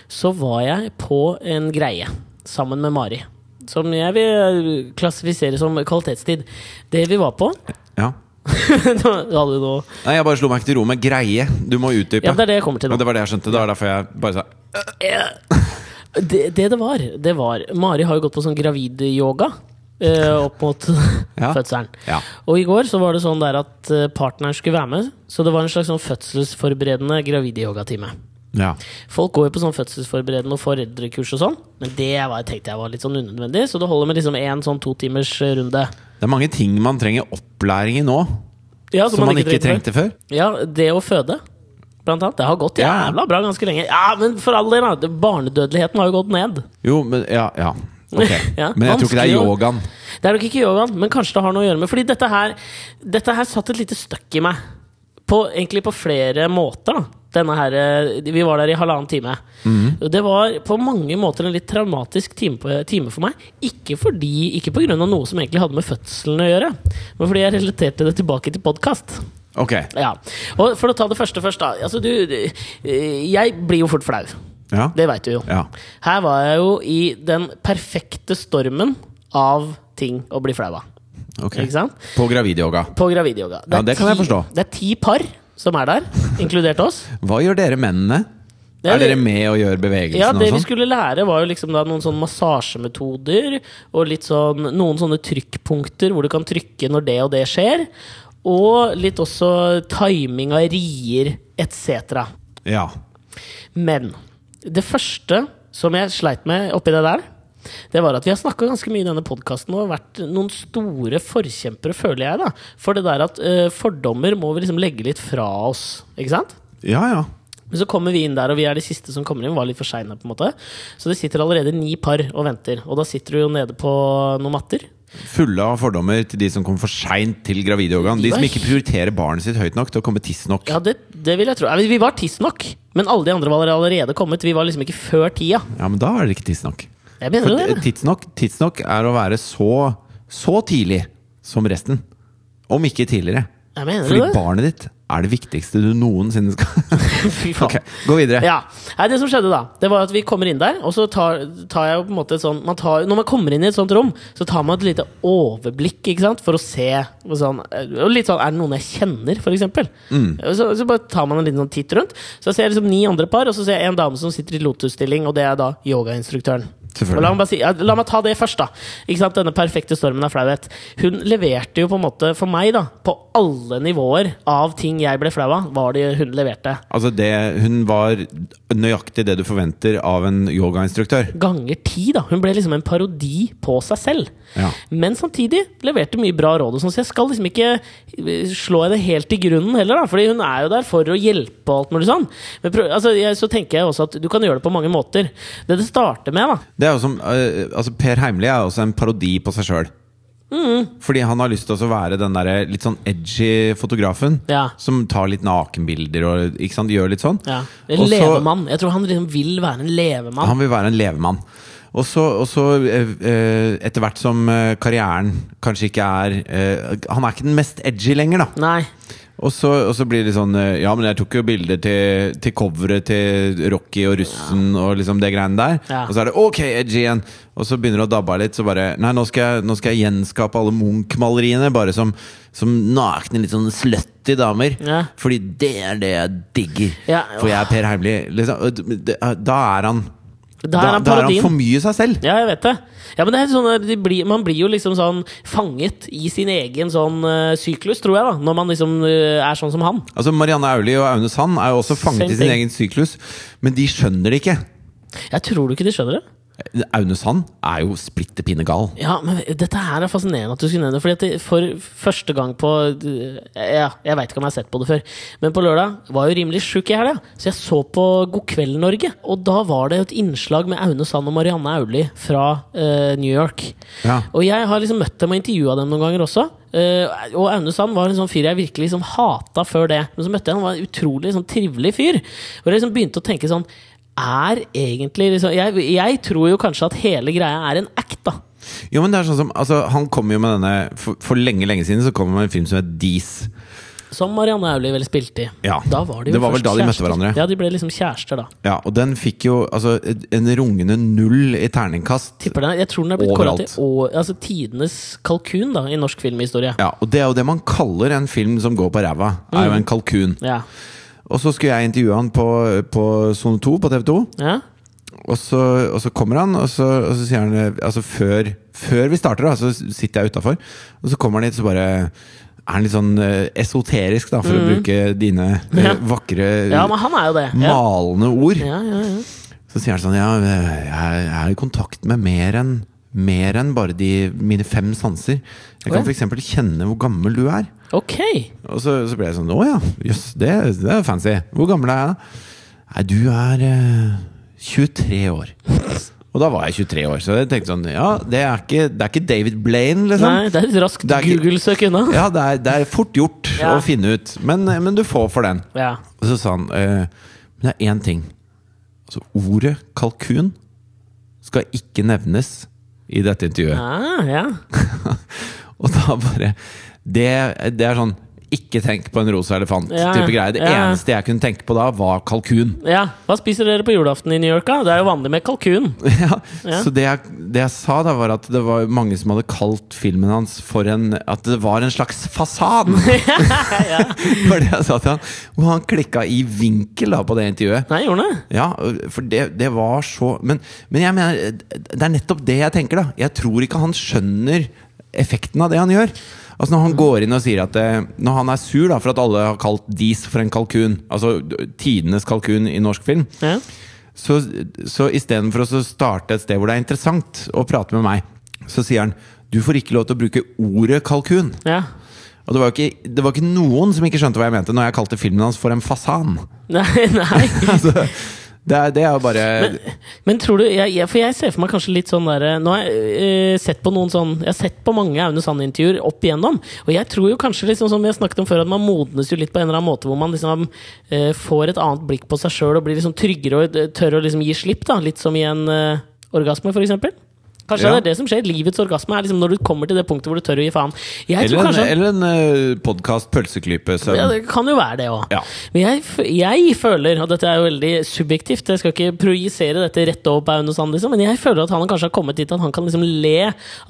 så var jeg på en greie sammen med Mari. Som jeg vil klassifisere som kvalitetstid. Det vi var på ja. Da hadde du noe Nei, jeg bare slo meg ikke til ro med greie. Du må utdype. Ja, det er det jeg kommer til nå. Og det var det jeg skjønte. Det var derfor jeg bare sa Det det, det var, det var Mari har jo gått på sånn gravidyoga eh, opp mot Ja. fødselen. Ja. Og i går så var det sånn der at eh, partneren skulle være med, så det var en slags sånn fødselsforberedende gravidyogatime. Ja. Folk går jo på sånn fødselsforberedende og foreldrekurs og sånn, men det var, tenkte jeg var litt sånn unødvendig, så det holder med liksom én sånn to timers eh, runde. Det er mange ting man trenger opplæring i nå, Ja, som man ikke Altså, trenger. trengte før. Ja, det å føde, blant annet. Det har gått Ja. jævla bra ganske lenge. Ja, men for all del, da. det- Barnedødeligheten har jo gått ned. Jo, men Ja. ja. Ok. Ja, Men jeg tror ikke det er vanskelig å- yogaen. Det er nok ikke yogaen, men kanskje det har noe å gjøre med Fordi dette her, dette her satt et lite støkk i meg. På, egentlig på flere måter. da Denne her, eh, Vi var der i halvannen time. Og Det var på mange måter en litt traumatisk time, på, time for meg. Ikke fordi, ikke pga. noe som egentlig hadde med fødselen å gjøre, men fordi jeg relaterte det tilbake til podkast. Ok. Ja. Og for å ta det første først, da. Altså, du, du- eh, jeg blir jo fort flau. Ja. Det veit du jo. Ja. Her var jeg jo i den perfekte stormen av ting å bli flau av. Ok. Ikke sant? På gravidyoga. På gravidyoga. Ja, er det kan jeg ti- forstå. Det er ti par som er der, inkludert oss. Hva gjør dere mennene? Det er- er dere med og gjør Ja, bevegelsene Det vi og sånn? skulle lære, var jo liksom da noen sånne massasjemetoder. Og litt sånn, noen sånne trykkpunkter hvor du kan trykke når det og det skjer. Og litt også timing av rier etc. Ja. Men det første som jeg sleit med oppi det der, det var at vi har snakka ganske mye i denne podkasten og vært noen store forkjempere, føler jeg, da, for det der at eh, fordommer må vi liksom legge litt fra oss. Ikke sant? Ja, ja. Men så kommer vi inn der, og vi er de siste som kommer inn. Var litt for seine, på en måte. Så det sitter allerede ni par og venter. Og da sitter du jo nede på noen matter. Fulle av fordommer til de som kommer for seint til gravidyogaen. De som Nei. ikke prioriterer barnet sitt høyt nok til å komme tidsnok. Ja, det, det vil jeg tro. Ja, Vi vi var tidsnok, men alle de andre var allerede kommet. Vi var liksom ikke før tida. Ja, men da er det ikke tidsnok. Jeg mener jo det. For tidsnok, tidsnok er å være så, så tidlig som resten. Om ikke tidligere. Jeg mener Fordi det. barnet ditt er det viktigste du noensinne skal Fy faen. Ok, gå videre. Ja. Nei, det som skjedde da, det var at vi kommer inn der, og så tar, tar jeg jo på en måte et sånn man tar, Når man kommer inn i et sånt rom, så tar man et lite overblikk, ikke sant, for å se og sånn, og litt sånn, Er det noen jeg kjenner, for eksempel? Mm. Og Så, så bare tar man en liten sånn titt rundt. Så ser jeg liksom ni andre par, og så ser jeg en dame som sitter i lotusstilling, og det er da yogainstruktøren. Selvfølgelig. Og la, meg bare si, ja, la meg ta det først, da. Ikke sant? Denne perfekte stormen av flauhet. Hun leverte jo på en måte, for meg, da, på alle nivåer av ting jeg ble flau av, var det hun leverte. Altså det, Hun var nøyaktig det du forventer av en yogainstruktør. ganger ti. da Hun ble liksom en parodi på seg selv. Ja. Men samtidig leverte mye bra råd. Og sånn, så jeg skal liksom ikke eh, slå henne helt i grunnen heller, da Fordi hun er jo der for å hjelpe og alt mulig sånn. Men prøv, altså, jeg, så tenker jeg også at du kan gjøre det på mange måter. Det det starter med, da Det er jo som, eh, altså Per Heimli er jo også en parodi på seg sjøl. Fordi han har lyst til å være den der litt sånn edgy fotografen. Ja. Som tar litt nakenbilder og ikke sant, gjør litt sånn. ja. En Og så- levemann. Jeg tror han liksom vil være en levemann. Han vil være en levemann. Og så, og så eh, eh, etter hvert som eh, karrieren kanskje ikke er eh, Han er ikke den mest edgy lenger, da. Nei. Og så, og så blir det sånn eh, Ja, men jeg tok jo bilder til, til coveret til Rocky og russen og liksom det greiene der. Ja. Og så er det OK, edgy igjen! Og så begynner det å dabbe av litt. Så bare Nei, nå skal jeg, nå skal jeg gjenskape alle Munch-maleriene bare som, som nakne, litt sånn slutty damer. Ja. Fordi det er det jeg digger. Ja. For jeg er Per Heimli. Liksom. Og d- det- Da er han Da er han da er parodien. han for mye seg selv. Ja, jeg vet det. Ja, men det er sånn, at de blir, Man blir jo liksom sånn fanget i sin egen sånn eh, syklus, tror jeg, da når man liksom eh, er sånn som han. Altså Marianne Aulie og Aune Sand er jo også fanget Same i sin thing. egen syklus, men de skjønner det ikke. Jeg tror du ikke de skjønner det. Aune Sand er jo splitter pinne gal. Ja, men dette her er fascinerende at du skulle nevne det. Fordi at det, for første gang på Ja, jeg veit ikke om jeg har sett på det før, men på lørdag var jeg jo rimelig sjuk i helga, så jeg så på God kveld Norge. Og da var det et innslag med Aune Sand og Marianne Aulie fra eh, New York. Ja. Og jeg har liksom møtt dem og intervjua dem noen ganger også. Eh, og Aune Sand var en sånn fyr jeg virkelig liksom hata før det. Men så møtte jeg han, han var en utrolig sånn trivelig fyr. Og jeg liksom begynte å tenke sånn Er egentlig liksom jeg, jeg tror jo kanskje at hele greia er en act, da. Jo, men det er sånn som altså, Han kom jo med denne For, for lenge, lenge siden så kom han med en film som het Dis. Som Marianne Aulie vel spilte i. Ja. Da var de jo Det var vel først da de møtte kjærester. hverandre. Ja, de ble liksom kjærester da. Ja, og den fikk jo altså, en rungende null i terningkast. Tipper den, jeg tror den er blitt kåra Overalt. til å- altså, tidenes kalkun da, i norsk filmhistorie. Ja, Og det er jo det man kaller en film som går på ræva. Er jo en kalkun. Ja. Og så skulle jeg intervjue han på, på Sone 2 på TV 2. ja. Og så, og så kommer han, og så, og så sier han eh, Altså før, før vi starter, da, så sitter jeg utafor. Og så kommer han hit, så bare er han litt sånn eh, esoterisk, da, for å bruke dine eh, Mm. Ja. vakre, Ja, men han er jo det. Ja. malende ord. Ja, ja, ja. Så sier han sånn Ja, jeg er i kontakt med mer enn mer enn bare de, mine fem sanser. Jeg kan Å ja. f.eks. kjenne hvor gammel du er. Ok. Og så, så ble jeg sånn Å ja, jøss, det, det er fancy. Hvor gammel er jeg da? Nei, du er eh, 23 år. Og da var jeg 23 år, så jeg tenkte sånn Ja, det er ikke, det er ikke David Blaine, liksom. Nei, det er et raskt Det er ikke- Google-søk unna. Ja, det er, det er fort gjort Ja. å finne ut. Men, eh, men du får for den. Ja. Og så sa han eh, Men det er én ting. Altså, ordet kalkun skal ikke nevnes i dette intervjuet. Ah, ja. Og da bare det, det er sånn ikke tenk på en rosa elefant-type Ja, greie. Det ja. eneste jeg kunne tenke på da, var kalkun. ja. Hva spiser dere på julaften i New York? da? Det er jo vanlig med kalkun. ja. Ja. Så det jeg, det jeg sa da, var at det var mange som hadde kalt filmen hans for en At det var en slags fasad! var det jeg sa til han. Og han klikka i vinkel da på det intervjuet. Nei, gjorde den det? Ja, for det, det var så men, men jeg mener, det er nettopp det jeg tenker, da. Jeg tror ikke han skjønner effekten av det han gjør. Altså Når han går inn og sier at eh, Når han er sur da for at alle har kalt Dis for en kalkun, altså tidenes kalkun i norsk film, Ja. så, så istedenfor å så starte et sted hvor det er interessant å prate med meg, så sier han du får ikke lov til å bruke ordet kalkun. ja. Og det var jo ikke, det var ikke noen som ikke skjønte hva jeg mente når jeg kalte filmen hans for en fasan. Nei, nei. altså, det, er- det er jo bare Men tror du jeg, jeg, For jeg ser for meg kanskje litt sånn derre Nå har jeg eh, sett på noen sånn Jeg har sett på mange Aune Sand-intervjuer opp igjennom. Og jeg tror jo kanskje, liksom som vi har snakket om før, at man modnes jo litt på en eller annen måte hvor man liksom eh, får et annet blikk på seg sjøl og blir liksom tryggere og eh, tør å liksom gi slipp. da Litt som i en eh, orgasme, for eksempel. Kanskje Ja. det er det som skjer. Livets orgasme er liksom når du kommer til det punktet hvor du tør å gi faen. Jeg tror Eller en, kanskje eller en eh, podcast Pølseklype søvn. ja, det kan jo være det òg. Ja. Men jeg, f- jeg føler, og dette er jo veldig subjektivt, jeg skal ikke projisere dette rett over på Aune Sand, liksom, men jeg føler at han kanskje har kommet dit at han kan liksom le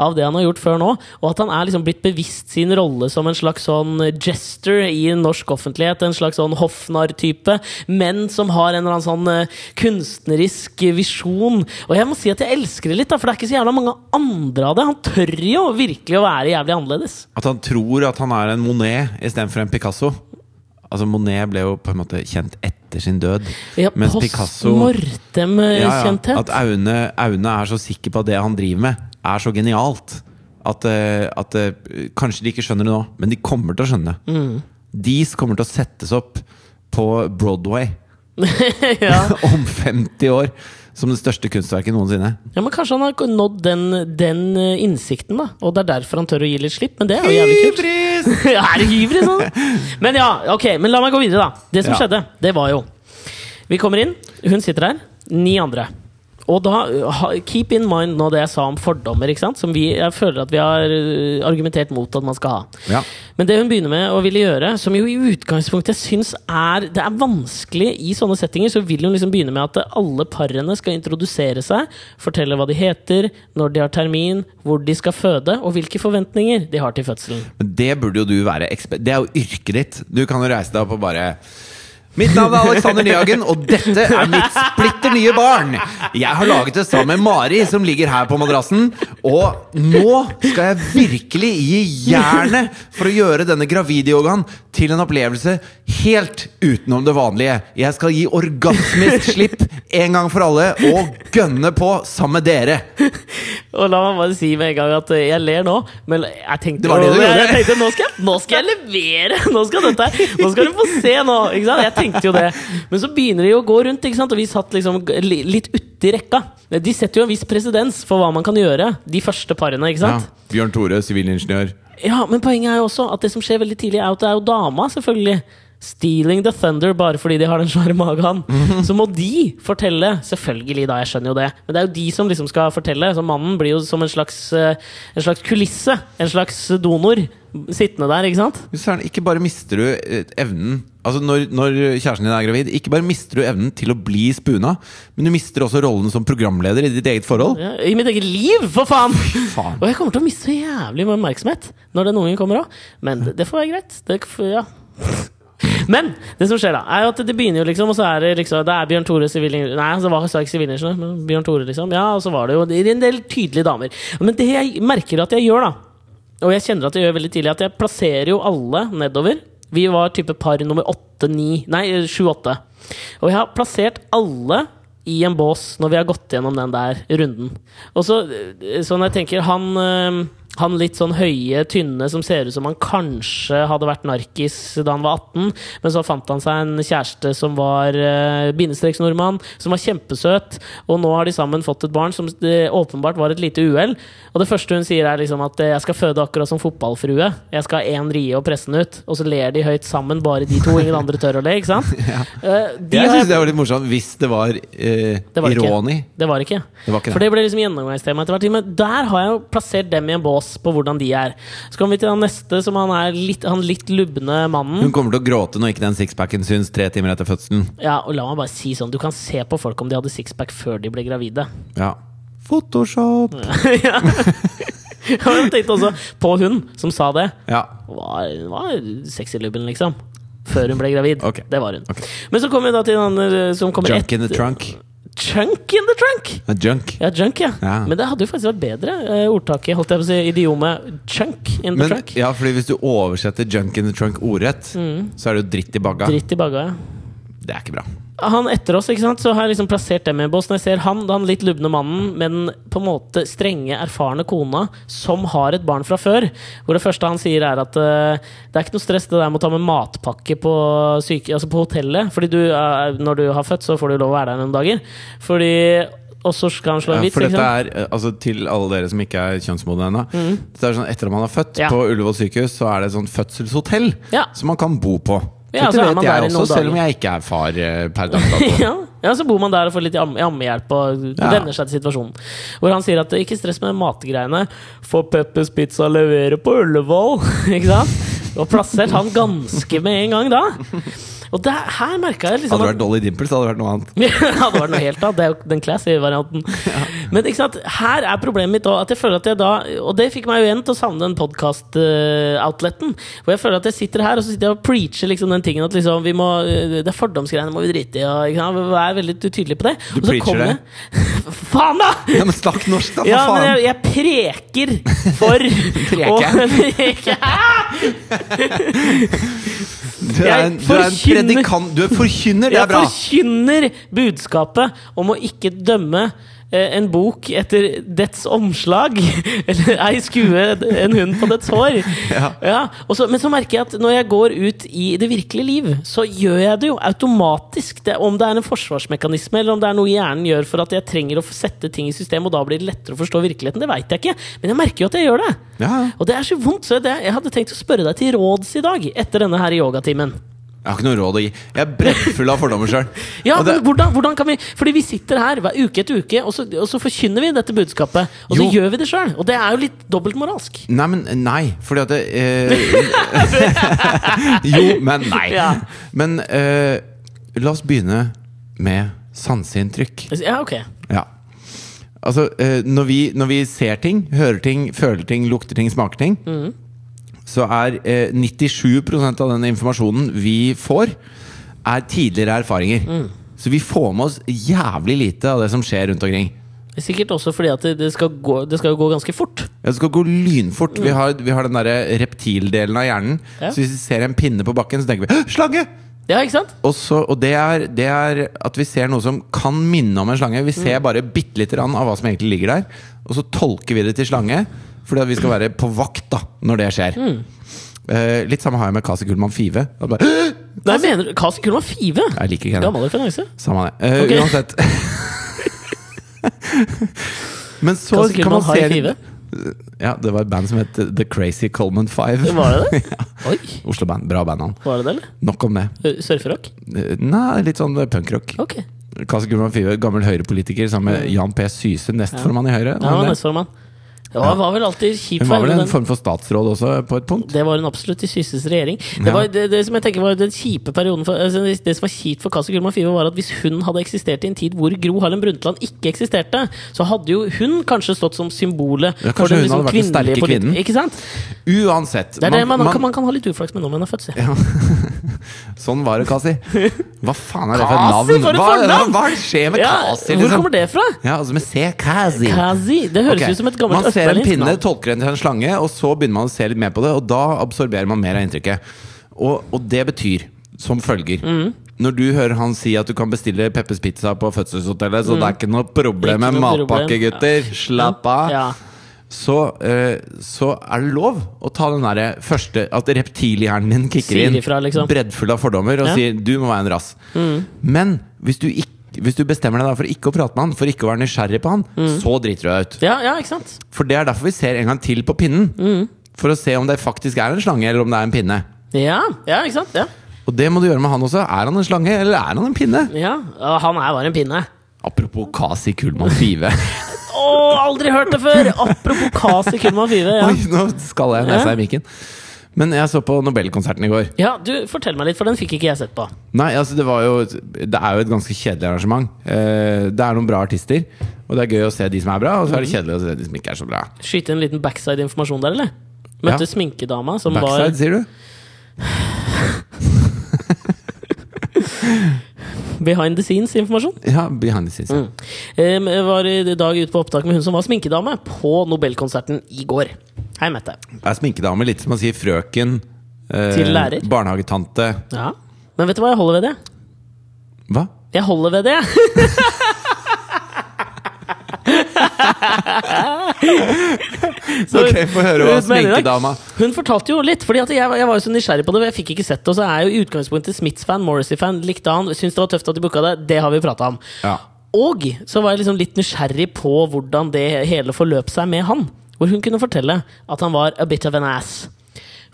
av det han har gjort før nå, og at han er liksom blitt bevisst sin rolle som en slags sånn jester i norsk offentlighet, en slags sånn hoffnarr-type, men som har en eller annen sånn eh, kunstnerisk visjon. Og jeg må si at jeg elsker det litt, da, for det er ikke så jævla mange andre av det. Han tør jo virkelig å være jævlig annerledes. At han tror at han er en Monet istedenfor en Picasso. Altså Monet ble jo på en måte kjent etter sin død. Ja, mens post eh, Picasso- mortem-kjenthet. At Aune, Aune er så sikker på at det han driver med, er så genialt. At, eh, at eh, Kanskje de ikke skjønner det nå, men de kommer til å skjønne det. Mm. Dis kommer til å settes opp på Broadway ja. om 50 år som det største kunstverket noensinne. ja, men Kanskje han har nådd den, den eh, innsikten, da. Og det er derfor han tør å gi litt slipp. Men det er jo jævlig kult. Hybris! er det hyvrig, sånn? Men ja, ok, men la meg gå videre, da. Det som Ja. skjedde, det var jo Vi kommer inn, hun sitter her, ni andre. Og da, uh, ha- Keep in mind nå det jeg sa om fordommer, ikke sant? som vi, jeg føler at vi har uh, argumentert mot at man skal ha. Ja. Men det hun begynner med å ville gjøre, som jo i utgangspunktet jeg syns er Det er vanskelig i sånne settinger, så vil hun liksom begynne med at alle parene skal introdusere seg, fortelle hva de heter, når de har termin, hvor de skal føde, og hvilke forventninger de har til fødselen. Men det burde jo du være eksper- Det er jo yrket ditt. Du kan jo reise deg opp og bare Mitt navn er Alexander Nyhagen, og dette er mitt splitter nye barn! Jeg har laget det sammen med Mari, som ligger her på madrassen. Og nå skal jeg virkelig gi jernet for å gjøre denne gravidyogaen til en opplevelse helt utenom det vanlige. Jeg skal gi orgasmisk slipp en gang for alle, og gønne på sammen med dere. Og la meg bare si med en gang at eh, jeg ler nå, men jeg tenkte, Det var det du jeg, gjorde. jeg tenkte nå, skal jeg, nå skal jeg levere! Nå skal, dette, her- nå skal du få se nå! Ikke sant? Jeg tenkte jo det. Men så begynner de å gå rundt, ikke sant? og vi satt liksom g- li- litt uti rekka. De setter jo en viss presedens for hva man kan gjøre, de første parene. ikke sant? Bjørn Tore, sivilingeniør. Ja, Men poenget er jo også at det som skjer veldig tidlig, er jo at det er jo dama, selvfølgelig. Stealing the Thunder bare fordi de har den svære magen. Så må de fortelle. Selvfølgelig, da. Jeg skjønner jo det. Men det er jo de som liksom skal fortelle. Så mannen blir jo som en slags, eh, en slags kulisse. En slags donor. Sittende der, ikke sant? Men Søren, ikke bare mister du eh, evnen Altså når, når kjæresten din er gravid, ikke bare mister du evnen til å bli spuna, men du mister også rollen som programleder i ditt eget forhold. Ja, I mitt eget liv, for faen! faen. Og jeg kommer til å miste så jævlig mye oppmerksomhet når den ungen kommer òg. Men det, det får være greit. Det, f- ja. Men det som skjer da, er jo at det begynner jo liksom, og så er det liksom Det er Bjørn Tore sivilingeniør Nei, altså, det var ikke sivilingeniør, men Bjørn Tore, liksom. Ja, og så var det jo det er en del tydelige damer. Men det jeg merker at jeg gjør, da, og jeg kjenner at jeg gjør veldig tidlig, at jeg plasserer jo alle nedover. Vi var type par nummer åtte, ni Nei, sju-åtte. Og jeg har plassert alle i en bås når vi har gått gjennom den der runden. Og så, eh, så når jeg tenker han, øhm, han litt sånn høye, tynne som ser ut som han kanskje hadde vært narkis da han var 18, men så fant han seg en kjæreste som var øh, bindestreksnordmann, som var kjempesøt, og nå har de sammen fått et barn som det åpenbart var et lite uhell. Og det første hun sier, er liksom at eh, 'jeg skal føde akkurat som fotballfrue', 'jeg skal ha én rie og presse den ut', og så ler de høyt sammen, bare de to, ingen andre tør å le, ikke sant? Eh, de Jeg har syns det var litt morsomt hvis det var, eh, det var det ironi. Ikke. Det var det ikke. Det var ikke For det. det ble liksom gjennomgangstema etter hvert. Men der har jeg jo plassert dem i en bås på hvordan de er. Så kommer vi til han neste, som han er litt, han litt lubne mannen. Hun kommer til å gråte når ikke den sixpacken syns tre timer etter fødselen. Ja, og la meg bare si sånn, Du kan se på folk om de hadde sixpack før de ble gravide. Ja. Photoshop! ja. Jeg tenkte også på hun som sa det. Ja. Var, var sexy lubben, liksom. Før hun ble gravid. Ok. Det var hun. Men så kommer vi da til den andre som kommer Junk in the etter- trunk. Chunk in the trunk! Nei, Junk. Ja, junk, ja. Ja. Men det hadde jo faktisk vært bedre, eh, ordtaket, holdt jeg på å si, idiomet chunk in the Men, trunk. Mm. ja, fordi hvis du oversetter 'junk in the trunk' ordrett, så er det jo dritt i bagga. Dritt i bagga, ja. Det er ikke bra. Han etter oss, ikke sant, så har jeg liksom plassert dem i en bås. Når jeg ser han, han litt lubne mannen, men på en måte strenge, erfarne kona, som har et barn fra før, hvor det første han sier er at eh, det er ikke noe stress det der med å ta med matpakke på, syke, altså på hotellet, fordi du, eh, når du har født, så får du lov å være der noen dager. Fordi Og så skal han slå en Ja, vits, for ikke dette sant. Mm. er, eh, altså Til alle dere som ikke er kjønnsmodne ennå. Det er sånn Etter at man er født, Ja. på Ullevål sykehus så er det et sånt fødselshotell Ja. som man kan bo på. Ja, dette så er man vet jeg der i også, noen selv om dager. jeg ikke er far eh, per dags dato. ja. ja, så bor man der og får litt amme- ammehjelp og Ja. venner seg til situasjonen. Hvor han sier at eh, ikke stress med matgreiene, for Peppers Pizza leverer på Ullevål. Ikke sant? Og plassert han ganske med en gang da. Og det, her merka jeg liksom Hadde det at vært Dolly Dimples, hadde det vært noe annet. ja, det hadde vært noe helt annet. Det er jo den classy varianten. Men ikke sant, her er problemet mitt òg. At jeg føler at jeg da Og det fikk meg jo igjen til å savne den podkast-outleten. Hvor jeg føler at jeg sitter her og så sitter jeg og preacher liksom den tingen at liksom vi må eh, Det er fordomsgreiene må vi drite i. Og, ikke sant? Vær veldig tydelig på det. Du og så preacher kommer det? jeg- Faen, da! Ja, men snakk norsk, da, for Ja, men faen! jeg, jeg preker for Preker? du, er en, du er en forkynner- predikant, du er forkynner, det Jeg er bra! forkynner budskapet om å ikke dømme eh, en bok etter dets omslag, eller ei skue en hund på dets hår. Ja. og så, men så merker jeg at når jeg går ut i det virkelige liv, så gjør jeg det jo automatisk. Det, om det er en forsvarsmekanisme, eller om det er noe hjernen gjør for at jeg trenger å sette ting i system, og da blir det lettere å forstå virkeligheten, det veit jeg ikke. Men jeg merker jo at jeg gjør det. Ja, ja. Og det er så vondt. Så det, jeg hadde tenkt å spørre deg til råds i dag, etter denne her yogatimen. Jeg har ikke noe råd å gi. Jeg er brettfull av fordommer sjøl. Ja, men hvordan, hvordan kan vi Fordi vi sitter her hver uke etter uke, og så, og så forkynner vi dette budskapet. Og Jo. så gjør vi det sjøl. Og det er jo litt dobbeltmoralsk. Nei, men nei. Fordi at det, eh, Jo, men nei. Ja. Men eh, la oss begynne med sanseinntrykk. Ja, ok. Ja. Altså, eh, når vi, når vi ser ting, hører ting, føler ting, lukter ting, smaker ting, så er eh, 97 av den informasjonen vi får, er tidligere erfaringer. Så vi får med oss jævlig lite av det som skjer rundt omkring. Det er Sikkert også fordi at det, det, skal gå, det skal jo gå ganske fort. Ja, Det skal gå lynfort. Vi, har, vi har den derre reptildelen av hjernen. Ja. Så hvis vi ser en pinne på bakken, så tenker vi «Hå, 'slange'! Ja, ikke sant? Og, så, og det, er, det er at vi ser noe som kan minne om en slange. Vi ser bare bitte lite grann av hva som egentlig ligger der, og så tolker vi det til slange. Fordi at vi skal være på vakt da når det skjer. Eh, litt samme har jeg med Kasi Kullmann Five. At bare, «Åh!» Nei, mener du Kasi Kulma Five? Jeg liker ikke henne. Gammel referanse. Samme det. Eh, Ok. Uansett. Men så Kasi kan Kullmann man har se Five. Ja, det var et band som het The Crazy Coleman Five. Var det det? ja. Oi, Oslo-band. Bra band, han. var det det, eller? Nok om det. Ø, Surferrock? Eh, Nei, litt sånn eh, punkrock. Ok. Mm. Kasse Gulman Five, gammel Høyre-politiker sammen med Jan P. Syse, nestformann i Høyre. Ja, han var nestformann. Det var, var vel alltid kjipt Hun var for vel henne, en form for statsråd også, på et punkt? Det var hun absolutt i Syses regjering. Det, Ja. var, det, det som jeg tenker var den kjipe perioden for, altså, det- det som var kjipt for Kasia Gullmann Five, var at hvis hun hadde eksistert i en tid hvor Gro Harlem Brundtland ikke eksisterte, så hadde jo hun kanskje stått som symbolet Ja, for kanskje hun liksom hadde vært den kvinnelige sterke politi- kvinnen. Ikke sant? Uansett! Det er det man, man, kan, man kan ha litt uflaks med når man er født, ser jeg. Ja. Sånn var det, Kasi. Hva faen er det for et navn? Kasi, for et hva, fornavn! hva skjer med Ja, Kasi? liksom? hvor kommer det fra? Ja, altså med C. Kasi. Kazi. Det høres Ok. ut som et gammelt Man ser en østberlinsk pinne, navn. tolker den til en slange, og så begynner man å se litt mer på det, og da absorberer man mer av inntrykket. Og, og det betyr som følger Mm. Når du hører han si at du kan bestille Peppes Pizza på fødselshotellet, så det er ikke noe problem Mm. Ikke med noe problem. matpakke, gutter. Slapp av. Ja. Så, eh, så er det lov å ta den der første At reptilhjernen din kicker Sier inn, ifra, liksom. breddfull av fordommer, og Ja. Mm. sier 'du må være en rass'. Men hvis du, ikk- hvis du bestemmer deg da for ikke å prate med han, for ikke å være nysgjerrig på han, Mm. så driter du deg ut. Ja, ja, ikke sant? For det er derfor vi ser en gang til på pinnen. Mm. For å se om det faktisk er en slange eller om det er en pinne. Ja, ja, ikke sant? Ja. Og det må du gjøre med han også. Er han en slange, eller er han en pinne? ja. Og Han er bare en pinne. Apropos Kasi Kullmann Five. Å, aldri hørt det før! Apropos Kasi Kullmann Five. Ja. Oi, nå skalla jeg nesa i mikken. Men jeg så på Nobelkonserten i går. ja, du, fortell meg litt, for den fikk ikke jeg sett på. Nei, altså det var jo Det er jo et ganske kjedelig arrangement. Eh, det er noen bra artister, og det er gøy å se de som er bra, og så Mm. er det kjedelig å se de som ikke er så bra. Skyte inn en liten backside-informasjon der, eller? Møtte Ja. sminkedama som Backside, sier du? var behind the scenes-informasjon. Ja, behind the scenes. ja. Um, var i dag ute på opptak med hun som var sminkedame på Nobelkonserten i går. Hei, Mette. Er sminkedame litt som man sier frøken? eh, Til lærer. Barnehagetante. Ja. Men vet du hva jeg holder ved det? Hva? Jeg holder ved det! Ok, få høre hva Ut med det i dag. sminkedama Hun fortalte jo litt, Fordi at jeg, var- jeg var jo så nysgjerrig på det. og Jeg fikk ikke sett det, og så er jeg jo i utgangspunktet Smiths-fan, Morrissey-fan, likte han, syntes det var tøft at de booka det. Det har vi prata om. Ja. Og så var jeg liksom litt nysgjerrig på hvordan det hele forløp seg med han. Hvor hun kunne fortelle at han var a bit of an ass.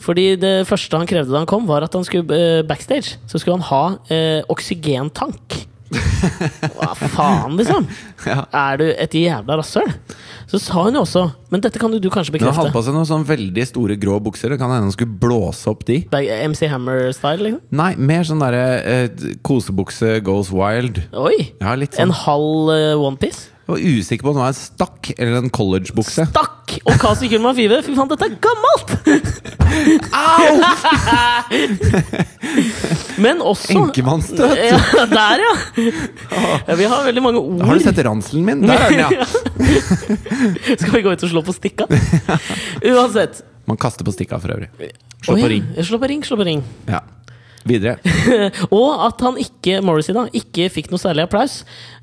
Fordi det første han krevde da han kom, var at han skulle eh, backstage. Så skulle han ha eh, oksygentank. Hva faen, liksom? Ja. Er du et jævla rasshøl? Så sa hun jo også Men dette kan jo du kanskje Men han hadde bekrefte. på seg noen sånn veldig store grå bukser. Det kan hende han skulle blåse opp de. Bag- MC Hammer-style, liksom? Nei, mer sånn derre eh, kosebukse goes wild. Oi! Ja, litt En sånn. halv eh, onepiece? Jeg var usikker på om det var en stakk eller en collegebukse. Takk! Og Kasi Kullmann Five, fy faen, dette er gammelt! Au! Men også Enkemannsstøt! Ja, der, ja. ja! Vi har veldig mange ord. Har du sett ranselen min? Der er den, ja! Skal vi gå ut og slå på stikka? Uansett. Man kaster på stikka for øvrig. Slå Å, ja. på ring. Slå på ring, slå på ring. Ja. Videre. Og at han ikke, Morrissey da, ikke fikk noe særlig applaus.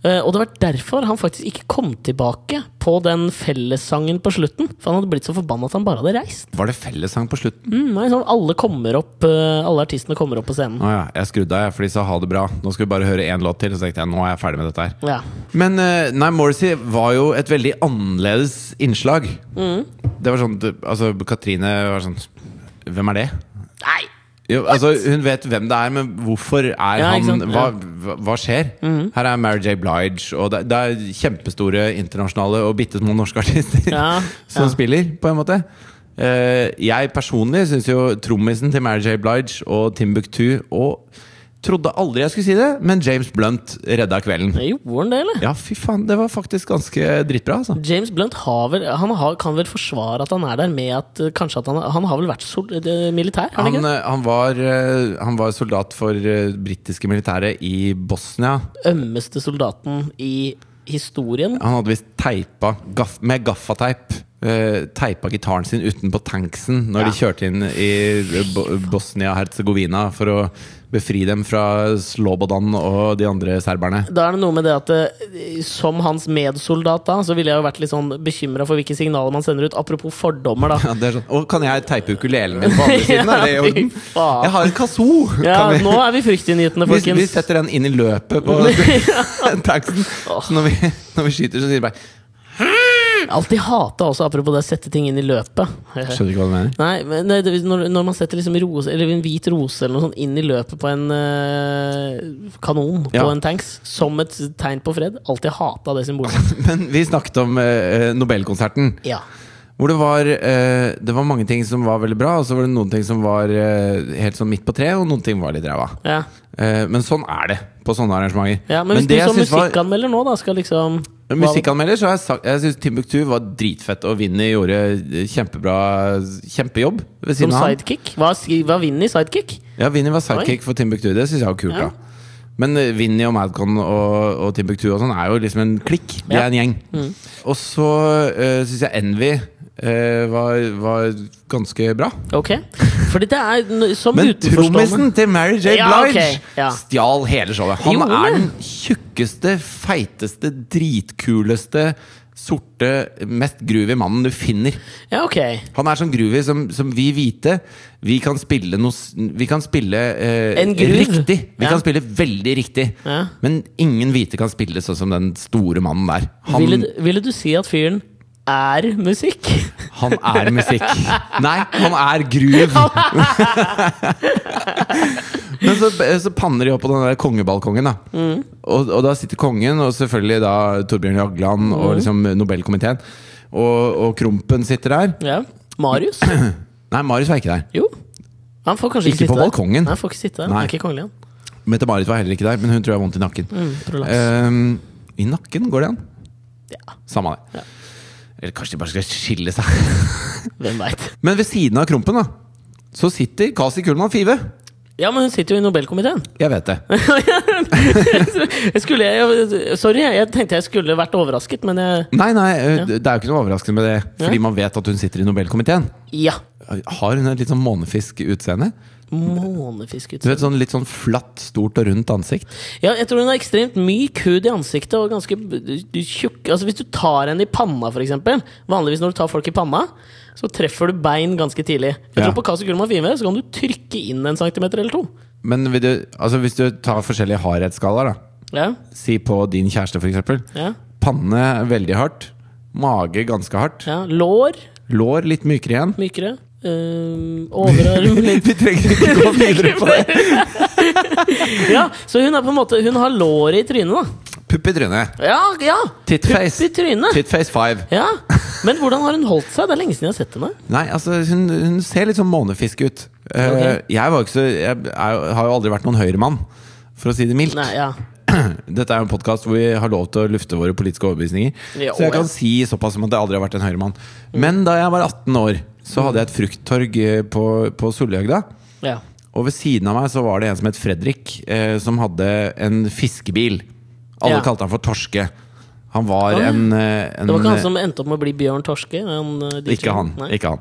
Eh, Og det var derfor han faktisk ikke kom tilbake på den fellessangen på slutten. For han hadde blitt så forbanna at han bare hadde reist. Var det fellessang på slutten? Mm, nei, sånn, alle, kommer opp, eh, alle artistene kommer opp på scenen. Å ja, jeg skrudde av, jeg, for de sa ha det bra. Nå skal vi bare høre én låt til, så tenkte jeg nå er jeg ferdig med dette her. Ja. Men eh, nei, Morrissey var jo et veldig annerledes innslag. Mm. Det var sånn du- Altså, Katrine var sånn Hvem er det? Nei! Jo, altså, hun vet hvem det er, men hvorfor er Ja, han ikke sant? hva, Ja. Mm. hva- hva skjer? Her er Mary J. Blige, og det, det er kjempestore internasjonale og bitte små norske artister Ja, som ja. spiller, på en måte. Eh, jeg personlig syns jo trommisen til Mary J. Blige og Timbuktu og Trodde aldri jeg skulle si det, men James Blunt redda kvelden. Gjorde han det, eller? Ja, fy faen, det var faktisk ganske drittbra, altså. James Blunt har vel, han har, kan vel forsvare at han er der med at eh, kanskje at han, han har vel vært sol, eh, militær? har Han, Han, ikke? eh, han, var, eh, han var soldat for eh, britiske militære i Bosnia. Ømmeste soldaten i historien. Han hadde visst teipa gaff, med gaffateip eh, teipa gitaren sin utenpå tanksen når de Ja. kjørte inn i Bo Bosnia-Hercegovina for å befri dem fra Slobodan og de andre serberne. Da er det noe med det at eh, som hans medsoldat, da, så ville jeg jo vært litt sånn bekymra for hvilke signaler man sender ut. Apropos fordommer, da. Ja, det er sånn. Og kan jeg teipe ukulelen min på andre siden? Er det i Ja, fy orden? faen. Jeg har en kazoo! Ja, Kan vi- nå er vi fryktinngytende, Vi, vi folkens. setter den inn i løpet på taxen. Så når vi, når vi skyter, så sier de bare Alltid hata også, apropos det å sette ting inn i løpet. Skjønner ikke hva du mener. Nei, men det, det, når, når man setter liksom rose, eller en hvit rose eller noe sånt inn i løpet på en eh, kanon på Ja. en tanks, som et tegn på fred, alltid hata det symbolet. Men vi snakket om eh, Nobelkonserten. Ja. Hvor det var, eh, det var mange ting som var veldig bra, og så var det noen ting som var eh, helt sånn midt på treet, og noen ting var litt ræva. ja. Eh, men sånn er det på sånne arrangementer. ja men, hvis det du som jeg synes var- musikkanmelder nå, da, skal liksom Musikkanmelder, så har jeg sagt Jeg syns Timbuktu var dritfett, og Vinni gjorde eh, kjempebra kjempejobb ved Som siden av han. sidekick? Hva, si- hva vinner i sidekick? Ja, Vinni var sidekick for Timbuktu. Det syns jeg var kult, Ja. da. Men eh, Vinni og Madcon og, og Timbuktu og sånn er jo liksom en klikk. De er Ja. Mm. en gjeng. Og så uh, syns jeg Envy eh, var, var ganske bra. Ok. Fordi det er n- som Men utenforstående trommisen til Mary J. Blige Ja, ok, ja. stjal hele showet. Han Gjorde er det? den tjukkeste, feiteste, dritkuleste, sorte, mest groovy mannen du finner. Ja, ok. Han er sånn groovy som, som vi hvite. Vi kan spille noe s- Vi kan spille eh, En groove. riktig. Vi Ja. kan spille veldig riktig. Ja. Men ingen hvite kan spille sånn som den store mannen der. Han, Ville, du- ville du si at fyren er musikk? han er musikk. Nei, han er groove! Men så, så panner de opp på den der kongebalkongen, da. Mm. Og, og da sitter kongen, og selvfølgelig da Torbjørn Jagland Mm. og liksom Nobelkomiteen. Og, og Krompen sitter der. Ja. Marius? Nei, Marius var ikke der. Jo. Han får kanskje ikke, Ikke på sitte der. balkongen. Nei, han får ikke sitte der. Han Nei. er ikke kongelig, han. Mette-Marit var heller ikke der, men hun tror jeg har vondt i nakken. Mm, prolaps. Ehm, I nakken går det an. Ja. Samme det. Eller kanskje de bare skal skille seg. Eh. Hvem veit. Men ved siden av Krompen da så sitter Kasi Kullmann Five. Ja, men hun sitter jo i Nobelkomiteen. Jeg vet det. Jeg skulle, jeg, sorry, jeg tenkte jeg skulle vært overrasket, men jeg Nei, nei, eh, det er jo ikke noe overraskende med det. Fordi man vet at hun sitter i Nobelkomiteen. Ja. Har hun et litt sånn månefisk utseende? Du Månefiskutseende. vet, sånn Litt sånn flatt, stort og rundt ansikt. Ja, jeg tror hun har ekstremt myk hud i ansiktet og ganske b- d- tjukk Altså Hvis du tar henne i panna, for eksempel Vanligvis når du tar folk i panna, så treffer du bein ganske tidlig. Jeg Ja. tror På Kasu Kulma Five så kan du trykke inn en centimeter eller to. Men vil du, altså hvis du tar forskjellige hardhetsskalaer, da. Ja, Si på din kjæreste, f.eks. ja, Panne veldig hardt. Mage ganske hardt. ja. Lår Lår litt mykere igjen. mykere. Um, overarm litt Vi trenger ikke gå videre på det. Ja, Så hun er på en måte Hun har låret i trynet, da. Pupp i trynet. Ja, ja! Pupp i Titface. trynet. Titface 5. Ja, Men hvordan har hun holdt seg? Det er lenge siden jeg har sett henne. Nei, altså, hun, hun ser litt sånn månefisk ut. Eh, Ok. Jeg, var jo ikke så, jeg er, jo- har jo aldri vært noen høyremann, for å si det mildt. Nei, ja Dette er jo en podkast hvor vi har lov til å lufte våre politiske overbevisninger. Ja, så jeg og- Mm. kan si såpass som at jeg aldri har vært en høyremann. Men da jeg var 18 år, så hadde jeg et frukttorg eh, på, på Solhjøgda. Ja. Og ved siden av meg så var det en som het Fredrik, eh, som hadde en fiskebil. Alle Ja. kalte han for Torske. Han var ja. en, eh, en Det var ikke han som endte opp med å bli Bjørn Torske? Han, eh, DJ? ikke han, Nei. ikke han.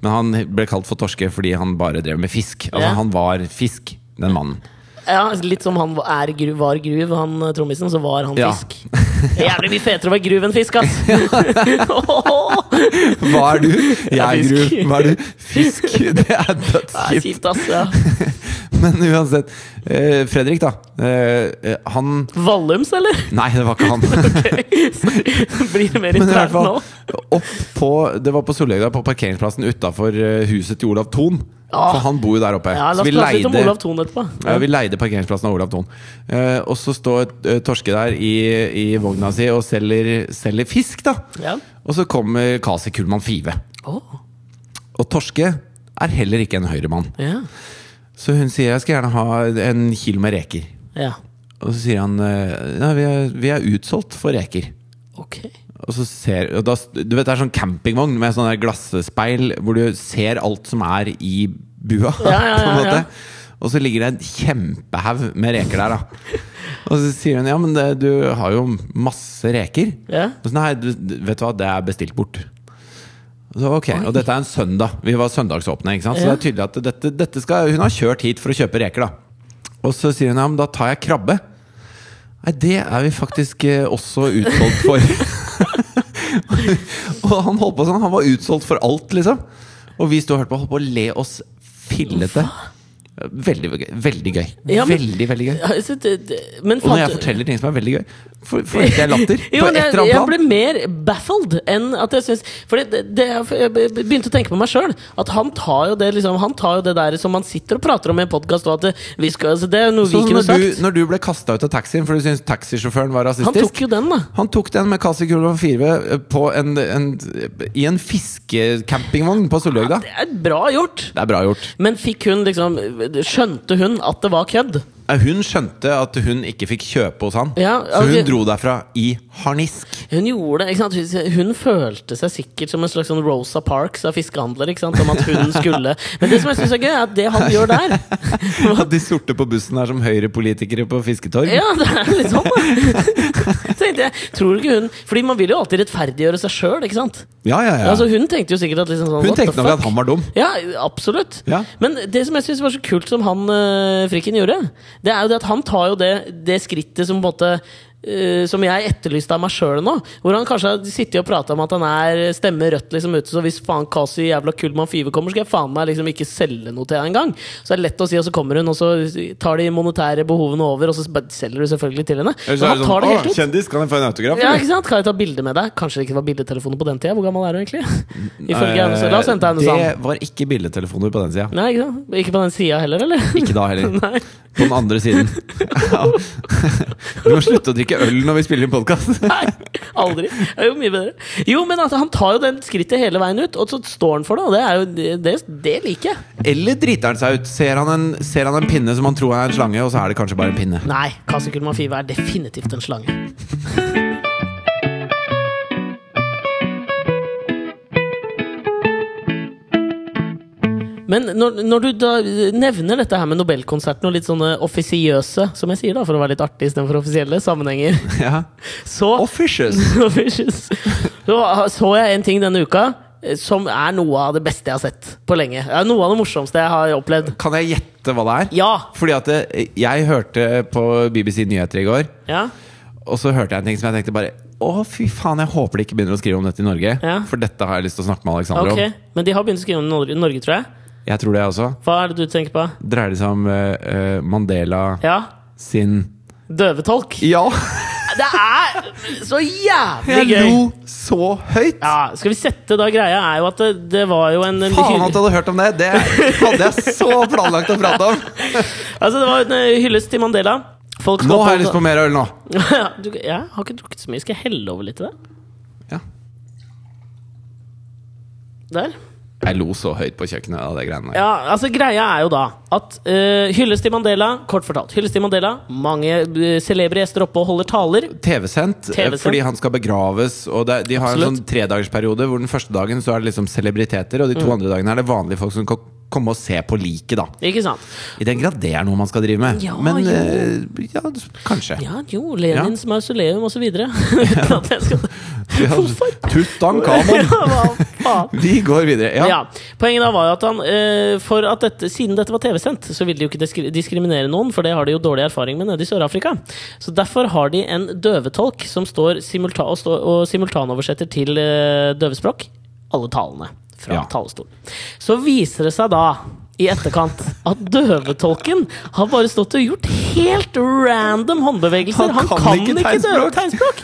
Men han ble kalt for Torske fordi han bare drev med fisk. Altså Ja. Han var fisk, den mannen. Ja, litt som han er, gru- var gruv, han eh, trommisen, så var han Ja. fisk. Det er jævlig mye fetere å være gruv enn fisk, ass! Det Hva er du? Jeg er er fisk. Gru. Hva er du? Fisk! Det er er dødskjipt. kjipt, ass. Ja. Men uansett. eh, Fredrik, da. eh, eh, han Vallums, eller? Nei, det var ikke han. Blir det Men mer i hvert internt fall, nå? opp på, det var på Solhjøgda, på parkeringsplassen utafor eh, huset til Olav Thon. Ja. For han bor jo der oppe. Ja, La Så oss vi prate litt om leide- Olav Thon etterpå. Ja, vi leide parkeringsplassen av Olav Thon. Eh, og så står eh, Torske der i, i vogna si og selger, selger fisk, da. Ja. Og så kommer Kasi Kullmann Five. Åh, Og Torske er heller ikke en høyremann. ja. Så hun sier jeg skal gjerne ha en kilo med reker. ja. Og så sier han eh, nei, vi er, vi er utsolgt for reker. Ok. Og så ser og da, Du vet det er sånn campingvogn med sånn der glasspeil hvor du ser alt som er i bua. Ja, ja, på en ja, måte ja. Og så ligger det en kjempehaug med reker der, da. Og så sier hun ja, men det, du har jo masse reker. Ja. Og så nei, du, du- vet du hva, det er bestilt bort. Og Så, ok, Og dette er en søndag. Vi var søndagsåpne. ikke sant? Så Ja. det er tydelig at dette, dette skal, hun har kjørt hit for å kjøpe reker. da Og så sier hun ja, men da tar jeg krabbe. Nei, det er vi faktisk eh, også utsolgt for. og han holdt på sånn. Han var utsolgt for alt, liksom. Og vi sto og hørte på, holdt på å le oss fillete. Veldig gøy. Veldig gøy. Ja, men- veldig, veldig gøy. Ja, så det- det- Men Og når jeg fant- forteller ting som er veldig gøy, får får ikke jeg latter. Jo, på et men jeg, eller jeg annet ble plan. mer baffled enn at jeg syns For det, det, jeg begynte å tenke på meg sjøl. At han tar jo det liksom, Han tar jo det der som man sitter og prater om i en podkast. Det, vi skal- altså, det er jo noe vi Sånn kunne når du, sagt. når du ble kasta ut av taxien fordi du syntes taxisjåføren var rasistisk. Han tok jo den, da. Han tok den med Kasi Kulva 4 eh, på en, en, i en fiskecampingvogn på Solhøgda. Det er bra gjort. Det er bra gjort. Men fikk hun liksom Skjønte hun at det var kødd? Eh, Hun skjønte at hun ikke fikk kjøpe hos han, Ja, så hun ok. dro derfra i harnisk. Hun gjorde det, ikke sant? Hun følte seg sikkert som en slags sånn Rosa Parks av fiskehandlere. Ikke sant? Om at hun skulle Men det som jeg syns er gøy, er at det han gjør der At de sorte på bussen er som høyrepolitikere på Fisketorg. Ja, det er litt sånn, da. tenkte jeg, tror ikke hun Fordi man vil jo alltid rettferdiggjøre seg sjøl, ikke sant? Ja, ja, ja. Altså, hun tenkte jo sikkert at liksom sånn, Hun what the tenkte nok fuck? at han var dum. Ja, absolutt. Ja. Men det som jeg syns var så kult som han eh, frikken gjorde, det er jo det at han tar jo det, det skrittet som på en måte eh, som jeg etterlyste av meg sjøl nå. Hvor han kanskje har sittet og prata om at han er stemmer rødt liksom ute, så hvis faen Kasi jævla Kullmann Five kommer, skal jeg faen meg liksom ikke selge noe til henne engang. Så det er lett å si, og så kommer hun, og så tar de monetære behovene over, og så bare selger du selvfølgelig til henne. Men han tar det helt ut. sånn, kjendis, kan jeg få en autograf? Ja, ikke sant? Kan jeg ta bilde med deg? Kanskje det ikke var bildetelefoner på den tida? Hvor gammel er du egentlig? Ifølge Aune La oss hente sånn. Aune Sand. Mm, eh, det var ikke billedtelefoner på den sida. Nei, ikke, sant? ikke på den sida heller, eller? Ikke da heller. Nei. På den andre siden. Ja. Du må slutte å drikke øl når vi spiller inn podkast. Nei, aldri. Det er jo mye bedre. Jo, men altså, han tar jo den skrittet hele veien ut, og så står han for det, og det, er jo, det, det liker jeg. Eller driter han seg ut? Ser han, en, ser han en pinne som han tror er en slange, og så er det kanskje bare en pinne? Nei, Kasi Kulma Five er definitivt en slange. Men når, når du da nevner dette her med Nobelkonserten og litt sånne offisiøse, som jeg sier da, for å være litt artig istedenfor offisielle sammenhenger, Ja. så Officious! Suspicious. Så så jeg en ting denne uka eh, som er noe av det beste jeg har sett på lenge. Det er noe av det morsomste jeg har opplevd. Kan jeg gjette hva det er? Ja! Fordi at det, jeg hørte på BBC Nyheter i går, Ja, og så hørte jeg en ting som jeg tenkte bare Å, fy faen, jeg håper de ikke begynner å skrive om dette i Norge. Ja. For dette har jeg lyst til å snakke med Alexander ok. Men de har begynt å skrive om Norge, Norge, tror jeg. om. Jeg tror det, jeg også. Hva er det du tenker på? Dreier det seg om eh, eh, Mandela Ja, sin døvetolk. Ja! Det er så jævlig Jeg gøy! lo så høyt! Ja, skal vi sette da greia er jo at det, det var jo en en Faen hyll- at du hadde hørt om det! Det hadde jeg så planlagt å prate om! Altså det var en eh, hyllest til Mandela. Folk Nå har jeg lyst på mer øl nå! du, Jeg har ikke drukket så mye. Skal jeg helle over litt til deg? Ja. Der. Jeg lo så høyt på kjøkkenet av det greiene der. Ja, altså Greia er jo da at uh, hylles til Mandela, kort fortalt. Hylles til Mandela. Mange eh, celebre gjester oppe og holder taler. TV-sendt, eh, TV-sendt. fordi han skal begraves. Og det, de har en Absolutt. sånn tredagersperiode hvor den første dagen så er det liksom celebriteter, og de to Mm. andre dagene er det vanlige folk som kan komme og se på liket, da. Ikke sant? I den grad det er noe man skal drive med. Ja, Men jo. eh, ja, kanskje. Ja, jo, Lenins mausoleum og så videre Uten at jeg skal Ja. Hvorfor? Tutankhamon! Ja, hva faen? Vi går videre. Ja. Ja. Poenget da var jo at han eh, For at dette, siden dette var TV-sendt, så ville de jo ikke diskri- diskriminere noen, for det har de jo dårlig erfaring med nede i Sør-Afrika. Så derfor har de en døvetolk som står simulta og, står- og simultanoversetter til eh, døvespråk alle talene fra Ja. talerstolen. Så viser det seg da i etterkant at døvetolken har bare stått og gjort helt random håndbevegelser. Han, kan, ikke, tegnspråk. døve- tegnspråk!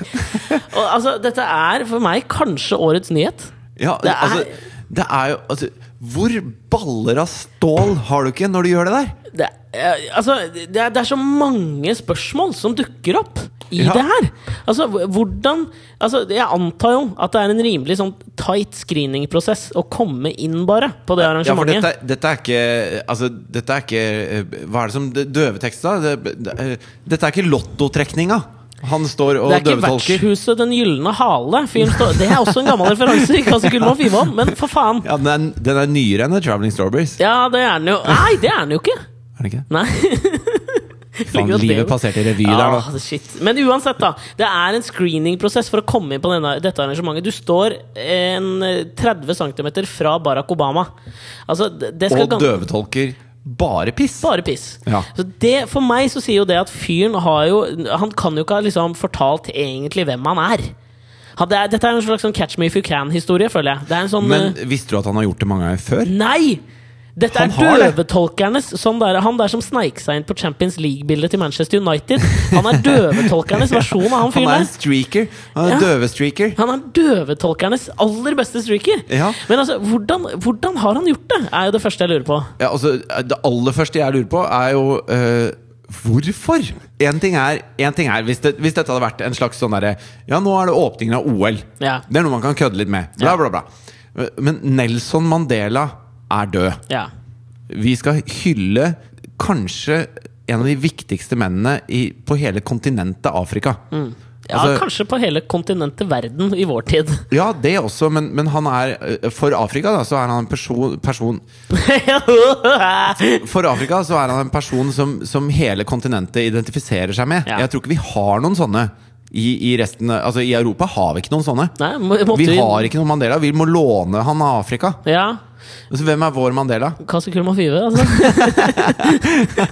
Og, altså, dette er for meg kanskje årets nyhet. Ja, Det er- altså, det er jo altså, Hvor baller av stål har du ikke når du gjør det der? det, eh, altså, det, er, det er så mange spørsmål som dukker opp i Ja. det her. Altså, hv- hvordan altså, Jeg antar jo at det er en rimelig sånn tight screeningprosess å komme inn bare på det Ja, for arrangementet. dette, dette er ikke Altså, dette er ikke eh, Hva er det som det- Døvetekst, da? Det, det, eh, dette er ikke lottotrekninga. Han står og det er ikke døvetolker. Vertshuset Den gylne hale. Fyren står- Det er også en gammel referanse, i Kasi Kullmann Fivan, men for faen. Ja, den, er, den er nyere enn The Traveling Strawberries. Ja, det er den jo. Nei, det er den jo ikke! Er det ikke? Nei. Faen, Ligger og livet drev- passerte i revy der, Ja, da. shit. Men uansett, da. Det er en screeningprosess for å komme inn på denne, dette arrangementet. Du står en eh, 30 cm fra Barack Obama. Altså, det det skal Og gans- døvetolker bare piss. bare piss. Ja. Så det, for meg så sier jo det at fyren har jo Han kan jo ikke ha liksom fortalt egentlig hvem han er. Han, det er dette er en slags sånn catch me if you can-historie, føler jeg. Det er en sånn Men eh, visste du at han har gjort det mange ganger før? Nei! Dette Han er har det. døvetolkernes sånn der, Han der som sneik seg inn på Champions League-bildet til Manchester United. Han er døvetolkernes versjon av Han Sånn han fyren er en der. streaker. Han er Ja. en Døvestreaker. Han er døvetolkernes aller beste streaker. Ja. Men altså, hvordan, hvordan har han gjort det? Er jo det første jeg lurer på. Ja, altså, det aller første jeg lurer på, er jo eh, hvorfor? Én ting er, en ting er hvis, det, hvis dette hadde vært en slags sånn derre Ja, nå er det åpningen av OL. Ja. Det er noe man kan kødde litt med. Bla, bla, bla. Men Nelson Mandela er død. Ja. Vi skal hylle kanskje en av de viktigste mennene i, på hele kontinentet Afrika. Mm. Ja, Altså- Kanskje på hele kontinentet verden i vår tid. Ja, det også, men, men han er eh, For Afrika, da, så er han en person, person For Afrika så er han en person som, som hele kontinentet identifiserer seg med. Ja. Jeg tror ikke vi har noen sånne i, i resten Altså i Europa har vi ikke noen sånne. Nei, må, måtte Vi har ikke noen Mandela. Vi må låne han av Afrika. Ja. Så hvem er vår Mandela? Kasse Kulma Five, altså.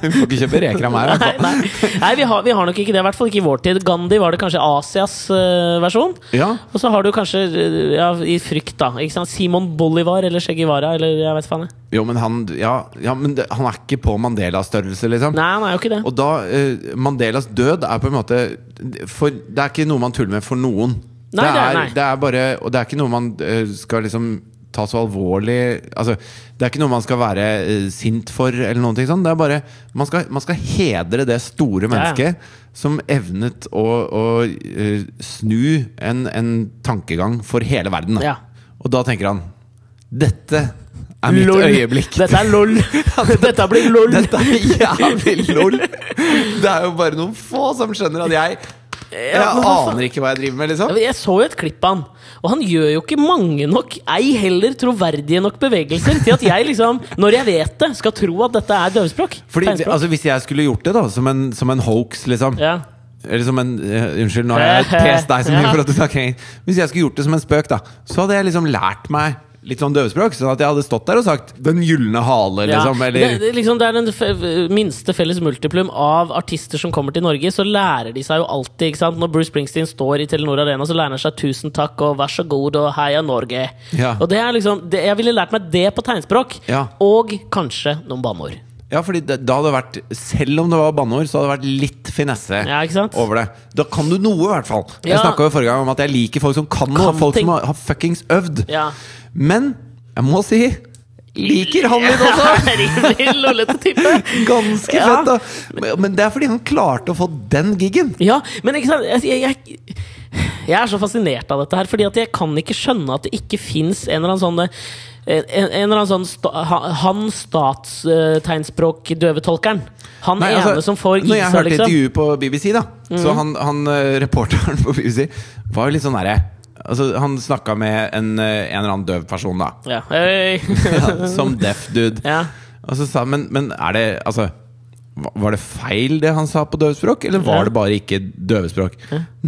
Vi får ikke kjøpe reker av meg. i hvert Nei, fall. nei. nei vi, har, vi har nok ikke det. I hvert fall ikke i vår tid. Gandhi var det kanskje Asias eh, versjon. Ja. Og så har du kanskje, eh, ja, i frykt, da ikke sant? Simon Bolivar eller Che Guevara eller jeg vet faen. jeg. Jo, men han Ja, ja men det, han er ikke på Mandela-størrelse, liksom. Nei, han er jo ikke det. Og da eh, Mandelas død er på en måte for, Det er ikke noe man tuller med for noen. Nei, det, det er- er, nei. det er bare Og det er ikke noe man eh, skal liksom ta så alvorlig Altså, det er ikke noe man skal være eh, sint for, eller noen ting sånn. Det er bare Man skal, man skal hedre det store Ja, ja. mennesket som evnet å, å eh, snu en, en tankegang for hele verden. da. Ja. Og da tenker han Dette er mitt Lol. øyeblikk. Dette er lol. Dette blir lol. Dette er jævlig lol. Det er jo bare noen få som skjønner at jeg Jeg men altså- hva faen? aner ikke hva jeg driver med, liksom. Jeg så jo et klipp av han, og han gjør jo ikke mange nok, ei heller troverdige nok bevegelser til at jeg liksom, når jeg vet det, skal tro at dette er døvespråk. Fordi, Tegnspråk. altså, hvis jeg skulle gjort det da som en, som en hoax, liksom ja. Eller som en eh, Unnskyld, nå har jeg pest deg så mye Ja. for at du snakker engelsk. Hvis jeg skulle gjort det som en spøk, da så hadde jeg liksom lært meg litt sånn døvespråk. Sånn at jeg hadde stått der og sagt 'Den gylne hale', Ja. liksom. det, Eller det, liksom, det er den fe- minste felles multiplum av artister som kommer til Norge. Så lærer de seg jo alltid ikke sant? Når Bruce Springsteen står i Telenor Arena, så lærer han seg 'tusen takk' og 'vær så god' og 'heia Norge'. Ja. Og det er liksom, det, Jeg ville lært meg det på tegnspråk, Ja. og kanskje noen banneord. Ja, fordi det, da hadde det vært Selv om det var banneord, så hadde det vært litt finesse Ja, ikke sant? over det. Da kan du noe, i hvert fall. Jeg Ja. snakka jo forrige gang om at jeg liker folk som kan noe. Kan Folk ting. som har, har fuckings øvd. Ja. Men jeg må si liker han litt også! Rimelig lollete type. Ganske Ja. fett, da. Men- Men det er fordi han klarte å få den gigen. Ja, men ikke sant altså, jeg, jeg, jeg, jeg er så fascinert av dette her, fordi at jeg kan ikke skjønne at det ikke fins en eller annen sånn eh, en, en eller annen sånn sta, ha- Han statstegnspråk-døvetolkeren. Han Nei, ene altså, som får Når jeg gisa, hørte liksom. Mhm. intervjuet på BBC, da Så han, han eh, reporteren på BBC var jo litt sånn derre Altså, han snakka med en, eh, en eller annen døv person, da. Ja. Øy. ja, som deaf dude. Ja. Og så sa han, men, men er det Altså va- var det feil det han sa på døvespråk, eller var Ja. det bare ikke døvespråk?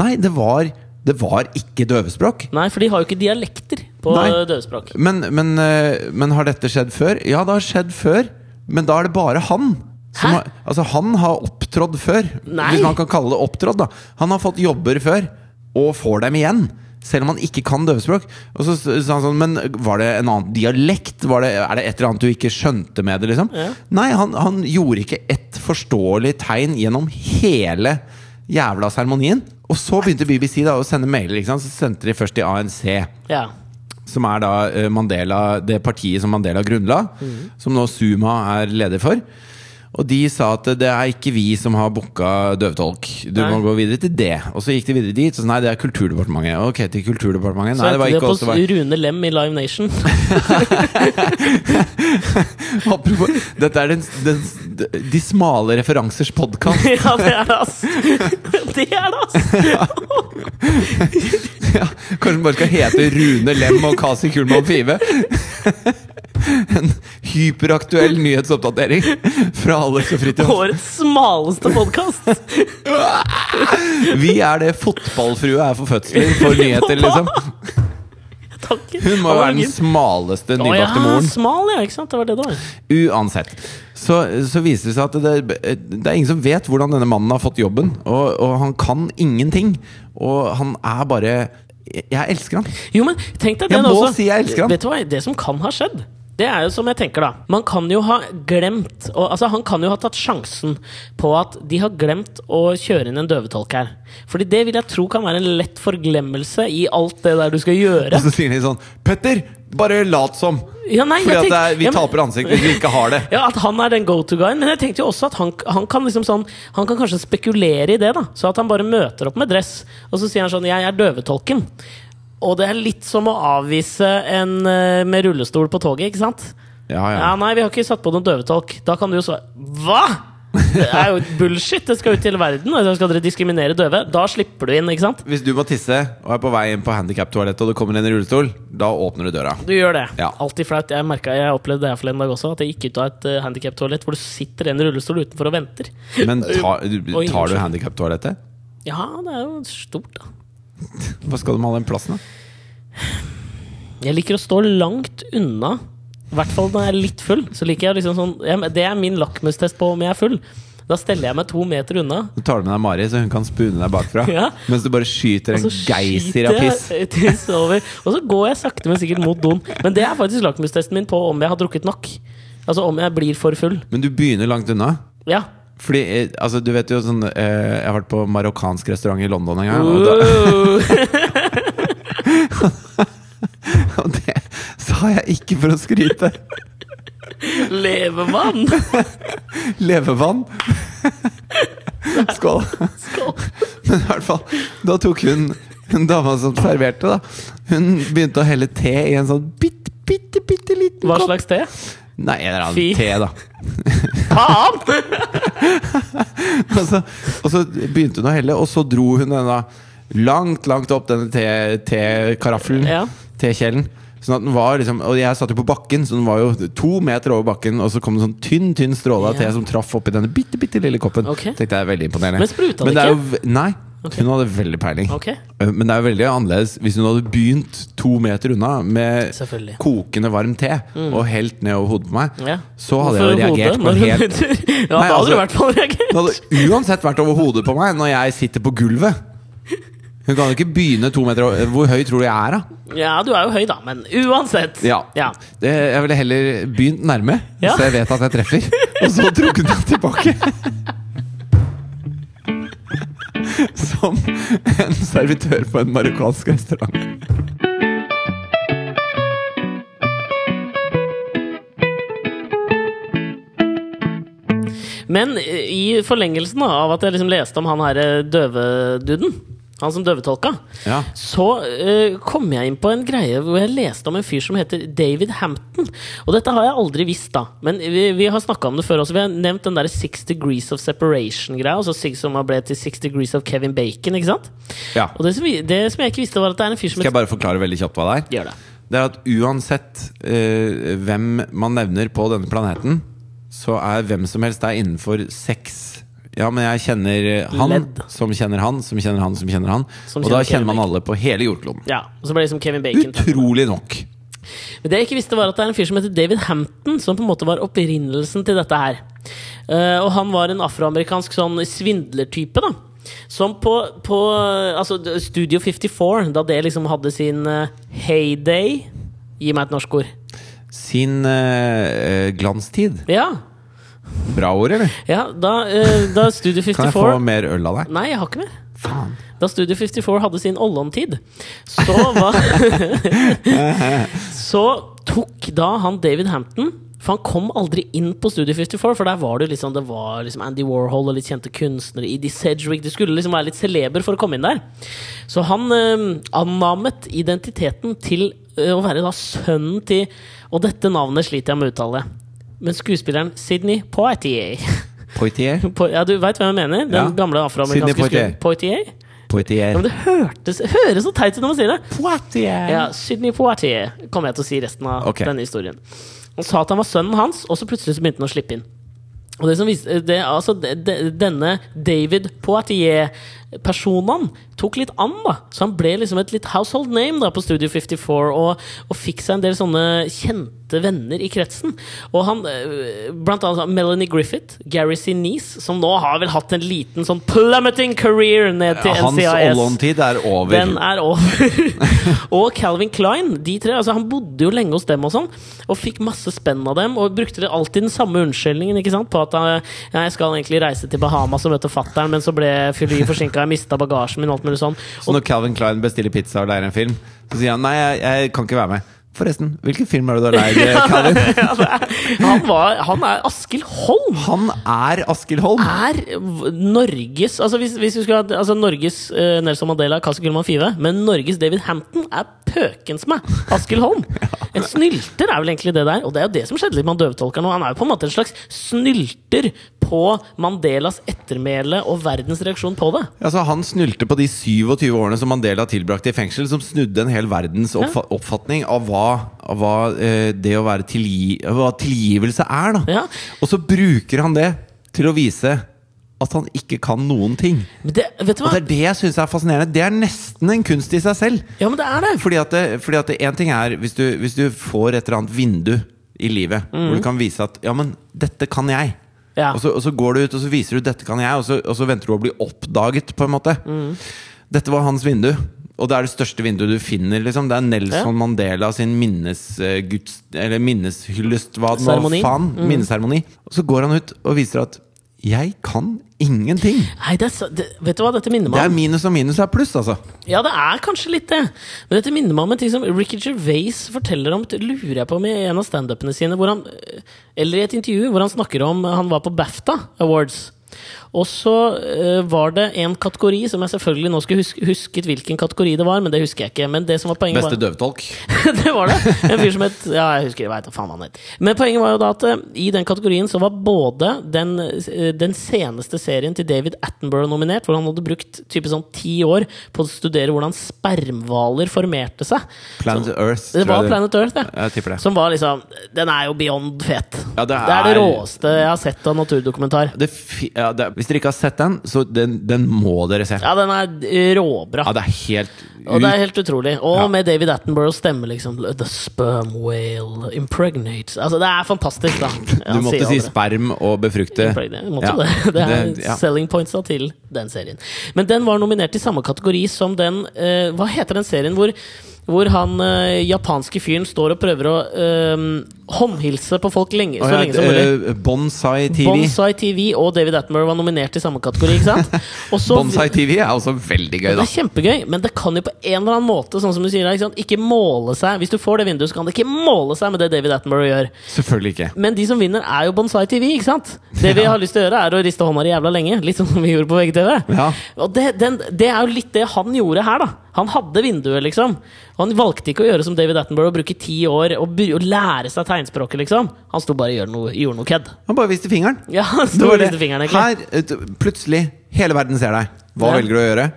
Nei, det var, det var ikke døvespråk. Nei, for de har jo ikke dialekter på Nei. døvespråk. Men, men, eh, men har dette skjedd før? Ja, det har skjedd før, men da er det bare han. Hæ? Som har, altså, han har opptrådd før, Nei. hvis man kan kalle det opptrådd. da Han har fått jobber før, og får dem igjen. Selv om han ikke kan døvespråk. Og så s- sa han sånn Men var det en annen dialekt? Var det, er det et eller annet du ikke skjønte med det? liksom? Ja. Nei, han, han gjorde ikke ett forståelig tegn gjennom hele jævla seremonien. Og så begynte BBC da å sende mailer. ikke sant? Så sendte de først til ANC Ja. som er da eh, Mandela, det partiet som Mandela grunnla, som nå Zuma er leder for. Og de sa at det er ikke vi som har booka døvetolk. Du Nei. må gå videre til det. Og så gikk de videre dit. Så nei, det er Kulturdepartementet. Ok, til Kulturdepartementet. Så Nei, det endte var det ikke på oss. Det var Rune Lem i Live Nation. Apropos, dette er den, den, De smale referansers podkast. ja, det er det, ass! det er det, ass! Ja, kanskje den bare skal hete Rune Lem og Kasi Kullmann Five. En hyperaktuell nyhetsoppdatering fra Alex og Fridtjof. Årets smaleste podkast! Vi er det fotballfrue er for fødsler for nyheter, liksom. Takk. Hun må jo være den smaleste nybakte moren. Ja, smal, ja. Ikke sant? Det var det det var. Uansett. Så, så viser det seg at det, det er ingen som vet hvordan denne mannen har fått jobben. Og, og han kan ingenting. Og han er bare Jeg jeg elsker han. Jo, men tenk deg Jeg den må også. si jeg elsker han. Vet du hva, Det som kan ha skjedd, Det er jo som jeg tenker, da. Man kan jo ha glemt og, Altså, han kan jo ha tatt sjansen på at de har glemt å kjøre inn en døvetolk her. Fordi det vil jeg tro kan være en lett forglemmelse i alt det der du skal gjøre. Og så sier de sånn Petter, bare lat som! Ja, nei, Fordi jeg at det tenk- er, vi ja, men- taper ansikt hvis vi ikke har det. Ja, At han er den go-to-guyen. Men jeg tenkte jo også at han, han kan liksom sånn Han kan kanskje spekulere i det. da Så at han bare møter opp med dress, og så sier han sånn 'Jeg er døvetolken'. Og det er litt som å avvise en eh, med rullestol på toget, ikke sant? Ja, ja. Ja, nei, vi har ikke satt på noen døvetolk. Da kan du jo svare Hva?! Det er jo bullshit! Det skal ut til verden. Og så skal dere diskriminere døve? Da slipper du inn, ikke sant? Hvis du må tisse og er på vei inn på handikaptoalettet og det kommer en i rullestol, da åpner du døra. Du gjør det. Ja. Alltid flaut. Jeg merket, jeg opplevde det her forleden dag også, at jeg gikk ut av et uh, handikaptoalett hvor det sitter en i rullestol utenfor og venter. Men ta, du, tar Oi, du unnskyld. handikaptoalettet? Ja, det er jo stort, da. Hva skal du med all den plassen, da? Jeg liker å stå langt unna. I hvert fall når jeg er litt full. Så liker jeg liksom sånn jeg, Det er min lakmustest på om jeg er full. Da steller jeg meg to meter unna. Du tar med deg Mari, så hun kan spune deg bakfra. Ja. Mens du bare skyter Og en så geyser av piss. skyter jeg tiss over. Og så går jeg sakte, men sikkert mot doen. Men det er faktisk lakmustesten min på om jeg har drukket nok. Altså om jeg blir for full. Men du begynner langt unna. Ja. Fordi, eh, altså du vet jo sånn eh, Jeg har vært på marokkansk restaurant i London en gang. Og da, Uh. Uh. og det sa jeg ikke for å skryte. Levemann! Levevann. Skål. Skål. Men i hvert fall, da tok hun Hun dama som serverte, da. Hun begynte å helle te i en sånn bitte, bitte, bitte liten Hva kopp. slags te? Nei, en eller annen Fy. te, da. Faen! Og så, og så begynte hun å helle, og så dro hun denne langt, langt opp denne te- tekaraffelen. Ja. Tekjelen. Sånn at den var liksom Og jeg satt jo på bakken, så den var jo to meter over bakken, og så kom det sånn tynn, tynn stråle av Ja. te som traff oppi denne bitte, bitte lille koppen. Ok. Tenkte jeg er veldig imponerende. Men spruta det er ikke? jo v- Nei. Ok. Hun hadde veldig peiling. Eh, Ok, Men det er jo veldig annerledes hvis hun hadde begynt to meter unna med selvfølgelig. Mm. kokende varm te og helt ned over hodet på meg, Ja. så hadde jeg jo Hvorfor reagert hodet? på en Når- helt Ja, Nei, da hadde du i altså- hvert fall reagert. Hun hadde uansett vært over hodet på meg når jeg sitter på gulvet. Hun kan jo ikke begynne to meter over Hvor høy tror du jeg er, da? Ja, du er jo høy, da, men uansett. Ja. Det, jeg ville heller begynt nærme, Ja. så jeg vet at jeg treffer. Og så trukket jeg tilbake. Som en servitør på en marokkansk restaurant. Men eh, i forlengelsen da, av at jeg liksom leste om han her eh, døveduden, han som døvetolka, Ja. så eh, kom jeg inn på en greie hvor jeg leste om en fyr som heter David Hampton. Og dette har jeg aldri visst, da. Men vi, vi har snakka om det før også. Vi har nevnt den der Six Degrees of Separation-greia. Altså Six som ble til Six Degrees of Kevin Bacon, ikke sant? Ja. Og det som, vi- det som jeg ikke visste, var at det er en fyr som Skal jeg bare forklare veldig kjapt hva det er? Gjør det. Det er at uansett eh, hvem man nevner på denne planeten, så er hvem som helst der innenfor seks Ja, men jeg kjenner eh, han Ledd. som kjenner han, som kjenner han, som kjenner han. Som og da kjenner kjenner man Kevin. alle på hele jordkloden. Ja, og så ble det liksom Kevin Bacon. Utrolig nok. Men det jeg ikke visste var at det er en fyr som heter David Hampton, som på en måte var opprinnelsen til dette her. Eh, og han var en afroamerikansk sånn svindlertype, da. Som på, på eh, altså, d- Studio 54, da det liksom hadde sin eh, heyday Gi meg et norsk ord. Sin eh, eh, glanstid. Ja, Bra ord, eller? ja da, eh, da Studio Kan jeg få 54 mer øl av deg? Nei, jeg har ikke mer. Faen. Da Studio 54 hadde sin ollon-tid, så var Så tok da han David Hampton For han kom aldri inn på Studio 54, for der var det liksom Det var liksom Andy Warhol og litt kjente kunstnere, Edie Sedgwick Det skulle liksom være litt celeber for å komme inn der. Så han eh, annamet identiteten til eh, å være da sønnen til Og dette navnet sliter jeg med å uttale. Men skuespilleren Sidney Poitier Poitier. Po- Ja, du veit hvem jeg mener? Den Ja. gamle Sidney afroamerikanske Poitier. skuespilleren Poitier? Poitier. Ja, men det hørtes, høres så teit ut når man sier det. Poitier. Ja, Sydney Poitier kommer jeg til å si resten av Ok. denne historien. Han sa at han var sønnen hans, og så plutselig så begynte han å slippe inn. Og det som viste, det, altså, det, det, Denne David Poitier eh, personene tok litt an, da. Så han ble liksom et litt household name da på Studio 54, og, og fikk seg en del sånne kjente venner i kretsen. Og han, eh, blant annet sånn Melanie Griffith, Gary Sinise, som nå har vel hatt en liten sånn plummeting career ned til Hans NCIS. Ollon-tid er over. Den er over. og Calvin Klein, de tre. altså Han bodde jo lenge hos dem og sånn, og fikk masse spenn av dem. Og brukte det alltid den samme unnskyldningen ikke sant? på at eh, ja, jeg skal egentlig reise til Bahamas og møte fatter'n, men så ble fly forsinka, jeg mista bagasjen min, og alt mulig sånn. Så når Calvin Klein bestiller pizza og leier en film, så sier han nei, jeg, jeg kan ikke være med. Forresten, hvilken film er det du har leid, eh, Calvin? Ja, det er, han, var, han er Askild Holm! Han er Askild Holm. Er v- Norges Altså hvis, hvis vi skulle hatt altså Norges eh, Nelson Mandela, Kaski Gullmann Five, men Norges David Hampton er pøkens meg Askild Holm. En snylter er vel egentlig det der, og det er jo det som skjedde litt med han døvetolkeren. nå. Han er jo på en måte en slags snylter på Mandelas ettermæle og verdens reaksjon på det. Altså, han snulte på de 27 årene som Mandela tilbrakte i fengsel, som snudde en hel verdens oppfa oppfatning av hva, av hva eh, det å være tilgi hva tilgivelse er. Da. Ja. Og så bruker han det til å vise at han ikke kan noen ting. Men det, vet Og du hva? det er det jeg syns er fascinerende. Det er nesten en kunst i seg selv. Ja, men det er det! Fordi at, det, fordi at det, en ting er hvis du, hvis du får et eller annet vindu i livet hvor du kan vise at Ja, men dette kan jeg. Mhm. Ja. Og, så, og så går du ut og så viser du 'dette kan jeg', og så, og så venter du å bli oppdaget. på en måte Mhm. Dette var hans vindu, og det er det største vinduet du finner. Liksom. Det er Nelson Ja. Mandela sin minnesguds... Eller minneshyllest, hva det var. Seremoni. Faen. Minneseremoni. Og så går han ut og viser at 'jeg kan ingenting'. Nei, det er, så- det, vet du hva dette minner Det meg om? er minus og minus er pluss, altså. Ja, det er kanskje litt det. Men dette minner meg om en ting som Ricky Gervais forteller om det lurer jeg på om i en av standupene sine, hvor han, eller i et intervju hvor han snakker om han var på BAFTA Awards. Og så eh, var det en kategori som jeg selvfølgelig nå skulle huske, husket hvilken kategori det var, men det husker jeg ikke. Men det som var poenget var- Beste døvetolk. det var det. En fyr som het Ja, jeg husker jeg vet, da faen hva han het. Men poenget var jo da at eh, i den kategorien så var både den, eh, den seneste serien til David Attenborough nominert, hvor han hadde brukt type sånn ti år på å studere hvordan spermhvaler formerte seg. Planet Earth. Det tror var jeg Planet Earth, ja. Jeg tipper det. Som var liksom Den er jo beyond fet. Ja, det det, er... det er- råeste jeg har sett av naturdokumentar. det, fi- ja, det, hvis dere ikke har sett den, så den, den må dere se. Ja, Ja, den er eh, råbra. det er helt Og ut- det er helt utrolig. Og Ja. med David Attenboroughs stemme, liksom. The sperm whale impregnates. Altså, det er fantastisk, da. Ja, Du han måtte sier si aldri sperm og befrukte. impregnate. Måtte Ja, jo det. Det er det- ja. selling pointsa til den serien. Men den var nominert i samme kategori som den eh, Hva heter den serien hvor hvor han eh, japanske fyren står og prøver å eh, håndhilse på folk lenge, Og så jeg- lenge som mulig. eh, Bonsai TV. Bonsai TV og David Attenborough var nominert i samme kategori, ikke sant? Og så- Bonsai TV er også veldig gøy, det da. er kjempegøy, men det kan jo på en eller annen måte Sånn som du sier da, ikke, sant? ikke måle seg Hvis du får det vinduet, så kan det ikke måle seg med det David Attenborough gjør. Selvfølgelig ikke. Men de som vinner, er jo Bonsai TV. ikke sant? Det vi har lyst til å gjøre, er å riste hånda di jævla lenge. Litt som vi gjorde på VGTV. Ja. Og det, den, det er jo litt det han gjorde her, da. Han hadde vinduet, liksom. Han valgte ikke å gjøre som David Attenborough, bruke ti år og, be- og lære seg tegnspråket, liksom. Han sto bare og gjorde noe, gjorde noe kødd. Han bare viste fingeren. Ja, han Det sto var og det. riste fingeren, egentlig. Her, eh, t- plutselig, hele verden ser deg. Hva Ja. velger du å gjøre?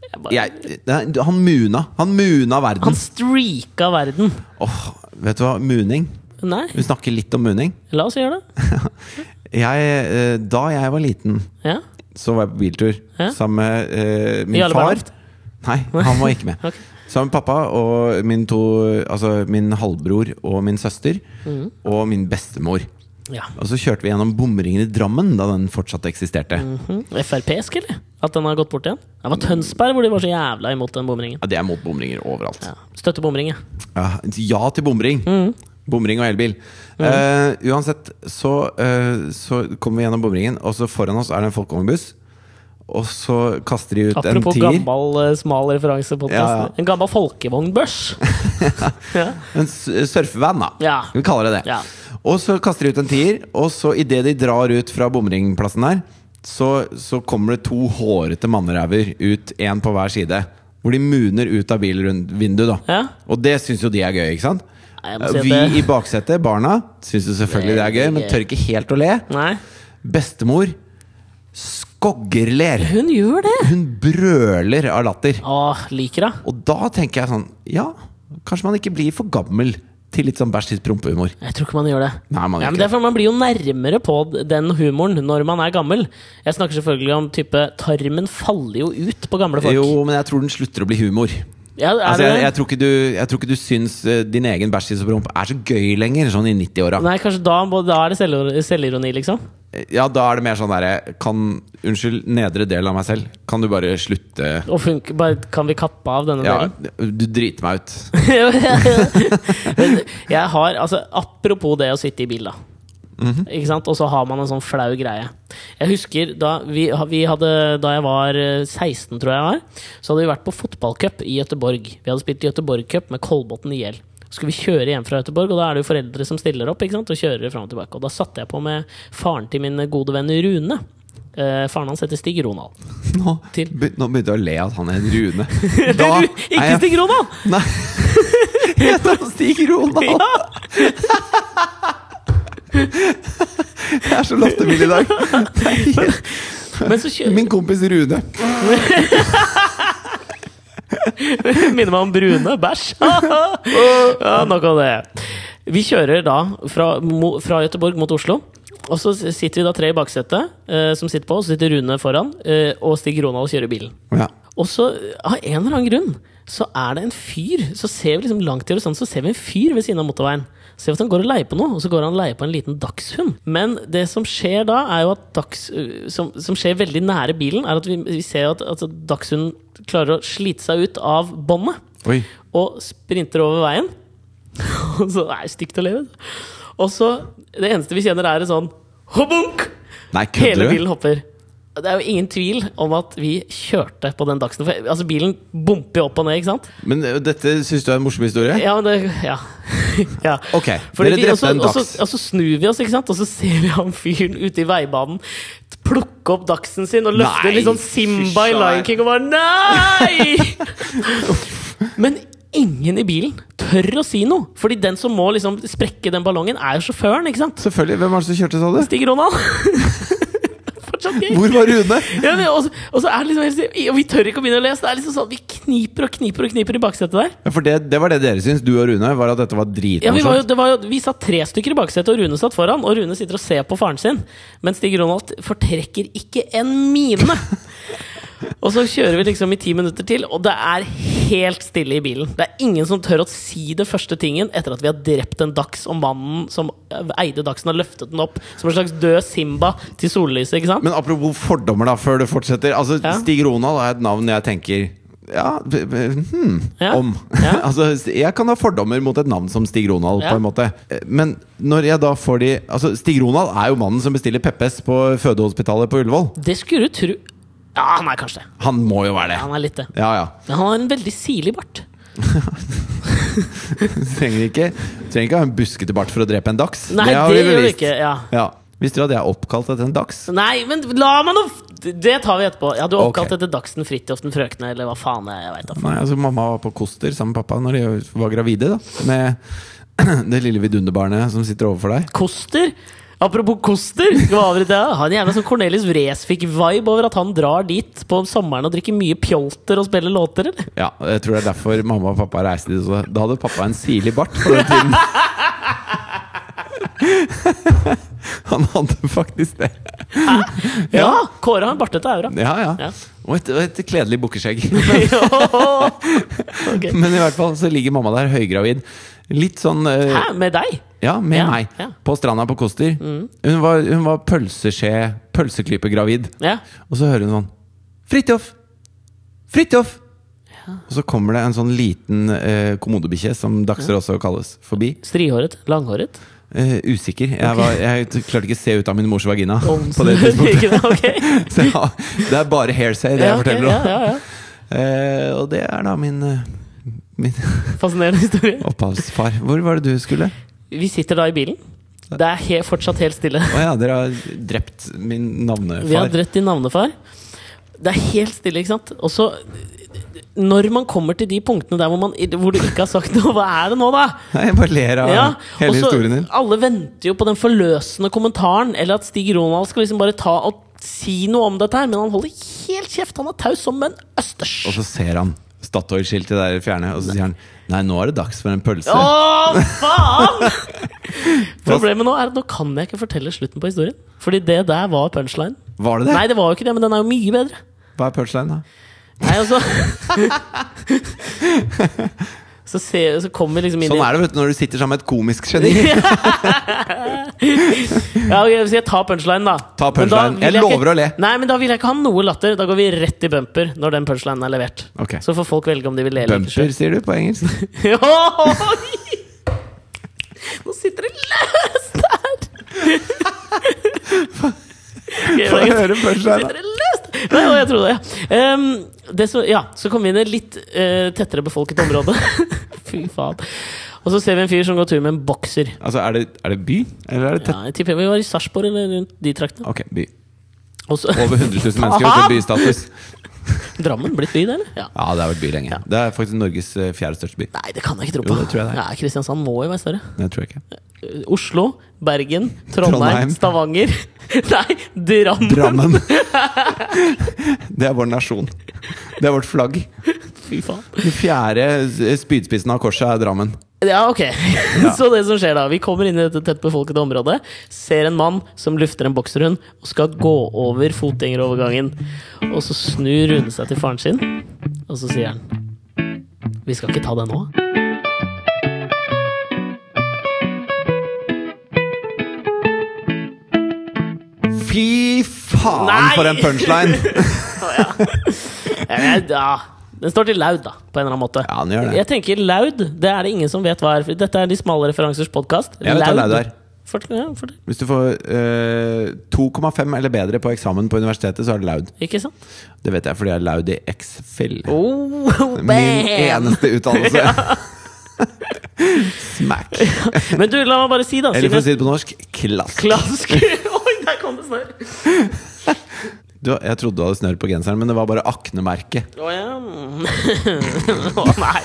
Jeg bare- Jeg, nei, han muna. Han muna Han verden. streaka verden. Åh, vet du hva? Muning. Nei, Vi snakker litt om muning. la oss gjøre det. Jeg, eh, da jeg var liten, Ja. så var jeg på biltur Ja. sammen med eh, min Jarle far. Bernhoft? Nei, han var ikke med. Ok. Sammen med pappa og min, to, altså min halvbror og min søster. Mm. Og min bestemor. ja. Og så kjørte vi gjennom bomringen i Drammen da den fortsatt eksisterte. Mhm. Frp-sk, eller? At den har gått bort igjen? Det var Tønsberg hvor de var så jævla imot den bomringen. Ja, det er mot bomringer overalt. Ja. Støtte bomring, ja. Mm. Ja, ja til bomring. Bomring og elbil. Eh, uansett så, eh, så kommer vi gjennom bomringen, og så foran oss er det en folkevognbuss. Og så kaster de ut Apropos en tier. gammel, eh, smal referanse på Ja, ja. En gammel folkevognbørs! ja. En s- eh, surfevan, da. Ja. Skal vi kaller det det. Ja. Og så kaster de ut en tier, og så idet de drar ut fra bomringplassen der, så, så kommer det to hårete mannræver ut, én på hver side. Hvor de muner ut av bilvinduet, da. Ja. Og det syns jo de er gøy, ikke sant? Eh, Nei, jeg må si at Vi det- i baksetet, barna, syns jo selvfølgelig det er gøy, men tør ikke helt å le. Nei, Bestemor skoggerler. hun gjør det! Hun brøler av latter. Å, liker henne. Og da tenker jeg sånn Ja, kanskje man ikke blir for gammel til litt sånn bæsj tiss prompehumor. Jeg tror ikke man gjør det. Nei, man gjør ja, men ikke det er for man blir jo nærmere på d- den humoren når man er gammel. Jeg snakker selvfølgelig om type Tarmen faller jo ut på gamle folk. Jo, men jeg tror den slutter å bli humor. Ja, er Altså, det jeg, det? jeg, tror ikke du, jeg tror ikke du syns eh, din egen bæsj tiss og promp er så gøy lenger, sånn i 90-åra. Nei, kanskje da, må- da er det selv- selvironi, liksom? Ja, da er det mer sånn derre Kan Unnskyld, nedre del av meg selv. Kan du bare slutte Og funke, bare, kan vi kappe av denne Ja, delen? du driter meg ut. Men jeg har, altså Apropos det å sitte i bil, da. Ikke sant? Og så har man en sånn flau greie. Jeg husker Da vi, vi hadde, da jeg var eh, 16, tror jeg jeg var, så hadde vi vært på fotballcup i Gøteborg. Vi hadde spilt Gøteborg-cup med Kolbotn IL. Så skulle vi kjøre hjem fra Gøteborg, og da er det jo foreldre som stiller opp. ikke sant? Og kjører frem og tilbake. Og da satte jeg på med faren til min gode venn Rune. Eh, faren hans heter Stig Ronald. Nå, Til. be, nå begynte jeg å le at han er en Rune. Ru- er Ikke jeg- Stig Ronald! Nei. Heter han Stig Ronald? Ja! Jeg er så lattermild i dag. Det er helt- Men så kjører Min kompis Rune. Minner meg om brune bæsj. ja, nok av det. Vi kjører da fra, mo- fra Gøteborg mot Oslo. Og så sitter vi da tre i baksetet, eh, som sitter på, og så sitter Rune foran. Eh, og Stig Ronald kjører bilen. Ja. Og så, av en eller annen grunn, så er det en fyr Så ser vi liksom langt i horisonten, så ser vi en fyr ved siden av motorveien. Ser vi at han går og leier på noe, og så går han og leier på en liten dagshund. Men det som skjer da, er jo at dags, øh, som, som skjer veldig nære bilen, er at vi, vi ser at, at dagshunden klarer å slite seg ut av båndet. Oi. Og sprinter over veien. Og så er det stygt å leve. Og så Det eneste vi kjenner, er en sånn hobunk! Nei, Hele kødder du? bilen hopper. Det er jo ingen tvil om at vi kjørte på den dagsen. For altså, bilen bumper jo opp og ned, ikke sant? Men ø, dette syns du er en morsom historie? Ja, men det Ja. ja. Ok, Fordi dere vi- drepte og så- en og så- dachs. Og så snur vi oss, ikke sant? og så ser vi han fyren ute i veibanen plukke opp dagsen sin og løfte Nei, litt sånn Simba fy i Lion søren. King og bare Nei! Men ingen i bilen tør å si noe. Fordi den som må liksom sprekke den ballongen, er jo sjåføren, ikke sant? Selvfølgelig. Hvem var det som kjørte, sa du? Stig Ronald. Fortsatt gøy. Hvor var Rune? Ja, men, og, så- og så er det liksom helt- Og vi tør ikke å begynne å lese. Det er liksom sånn, Vi kniper og kniper og kniper i baksetet der. Ja, for det, det var det dere syns, du og Rune, var at dette var Ja, vi, var jo, dritmorsomt? det var jo, vi satt tre stykker i baksetet, og Rune satt foran. Og Rune sitter og ser på faren sin, men Stig Ronald fortrekker ikke en mine! Og så kjører vi liksom i ti minutter til, og det er helt stille i bilen. Det er ingen som tør å si det første tingen etter at vi har drept en dachs, og mannen som eide dachsen, har løftet den opp som en slags død Simba til sollyset, ikke sant? Men apropos fordommer, da, før du fortsetter. Altså, Ja. Stig Ronald er et navn jeg tenker ja, b- b- hmm, Ja. om. Ja. altså, jeg kan ha fordommer mot et navn som Stig Ronald, Ja. på en måte. Eh, Men når jeg da får de Altså, Stig Ronald er jo mannen som bestiller Peppes på fødehospitalet på Ullevål. Det skulle du tro Ja, han er kanskje det. Han må jo være det. Han er litt det. Ja, ja. Men han har en veldig sirlig bart. Trenger ikke, trenger ikke ha en buskete bart for å drepe en dachs. Nei, har det vi gjør du bevist. ikke. Ja. Ja. Visste du at jeg er oppkalt etter en dachs? Nei, men la meg nå f- Det tar vi etterpå. Ja, du er oppkalt Ok. etter Dagsen Fridtjoften Frøkne, eller hva faen jeg, jeg veit da. Nei, altså Mamma var på Koster sammen med pappa når de var gravide. da Med det lille vidunderbarnet som sitter overfor deg. Koster? Apropos Koster, skal vi avbryte det? har en jævla sånn Cornelius Vresvik-vibe over at han drar dit på sommeren og drikker mye pjolter og spiller låter, eller? Ja, Jeg tror det er derfor mamma og pappa reiste dit. også. Da hadde pappa en sirlig bart på den tiden. Han hadde faktisk det. Ja! Kåre har en bartete aura. Ja, ja. Ja. Og et, og et kledelig bukkeskjegg. Ok. Men i hvert fall så ligger mamma der høygravid. Litt sånn eh, Hæ, med deg? Ja, med Ja, meg. ja. Mm. På stranda på Koster. Hun var, hun var pølseskje, pølseklypegravid. Ja. Og så hører hun sånn Fridtjof! Fridtjof! Og så kommer det en sånn liten eh, kommodebikkje, som dagser også kalles, forbi. Strihåret? Langhåret? Eh, usikker. Jeg, var, jeg t- klarte ikke å se ut av min mors vagina på det tidspunktet. Ikke det? Ok. Så ja, det er bare hairsay, det Ja, jeg ok, forteller ja, om. ja, ja. Eh, og det er da min, eh, min Fascinerende historie. opphavsfar. Hvor var det du skulle? Vi sitter da i bilen. Det er he fortsatt helt stille. Å ja, dere har drept min Vi har navnefar. drept din navnefar. Det er helt stille, ikke sant? Og så Når man kommer til de punktene der hvor, man, hvor du ikke har sagt noe, hva er det nå, da? Nei, jeg bare ler av Ja, hele og så historien din. Alle venter jo på den forløsende kommentaren, eller at Stig Ronald skal liksom bare ta og si noe om dette her, men han holder helt kjeft. Han er taus som en østers. Og så ser han Statoil-skiltet der fjerne, og så sier han Nei, nå er det dags for en pølse. Å, faen! Problemet nå er at nå kan jeg ikke fortelle slutten på historien. Fordi det der var punchline. Var det det? Nei, det var jo ikke det, men den er jo mye bedre. Hva er punchline, da? Nei, altså Så, ser, så kommer vi liksom inn Sånn i er det vet du, når du sitter sammen med et komisk geni. Ja, ok, så jeg tar punchline, da. Ta Men da punchline. vil Jeg lover ikke, å le. Nei, men Da vil jeg ikke ha noe latter. Da går vi rett i bumper når den punchlinen er levert. Ok. Så får folk velge om de vil le eller ikke. Bumper, sier du på engelsk. selv. Oi! Nå sitter det løst her! Få høre punchline, da. Sitter det løst? Nei, å, jeg trodde det. ja. Ehm, det som- ja, så kommer vi inn i et litt eh, tettere befolket område. Fy faen. Og så ser vi en fyr som går tur med en bokser. Altså, er det, er det by, eller er det tett? Ja, jeg tipper vi var i Sarpsborg eller rundt de traktene. Ok, by. Og så- Over 100 000 mennesker vet du, bystatus. Drammen blitt by, det, eller? Ja. Ja, det har vært by lenge. Det er faktisk Norges eh, fjerde største by. Nei, det kan jeg ikke tro på. Jo, det tror jeg det er. Nei, Kristiansand må jo være større. Det tror jeg ikke. Eh, Oslo, Bergen, Trondheim, Trondheim. Stavanger Nei, Drammen! Drammen. Det er vår nasjon. Det er vårt flagg. Fy faen. Den fjerde eh, spydspissen av korset er Drammen. Ja, ok. Så det som skjer da Vi kommer inn i dette tettbefolkede området, ser en mann som lufter en bokserhund og skal gå over fotgjengerovergangen. Og så snur Rune seg til faren sin, og så sier han Vi skal ikke ta det nå. Fy faen Nei! for en punchline! Eh, Ja, den står til laud, da, på en eller annen måte. Ja, den gjør det. Jeg tenker laud, det er det ingen som vet hva er. for Dette er De smale referansers podkast. Jeg vet hva laud er. Fort- ja, fort- Hvis du får eh, 2,5 eller bedre på eksamen på universitetet, så er det laud. Ikke sant? Det vet jeg fordi jeg er laud i X-Fill. Oh, Min bam! eneste utdannelse. Smack. Men du, la meg bare si, da. Eller for å si siden det på norsk klask. Klask! Oi, der kom det snørr! Du, jeg trodde du hadde snørr på genseren, men det var bare aknemerke. Å ja. Å nei.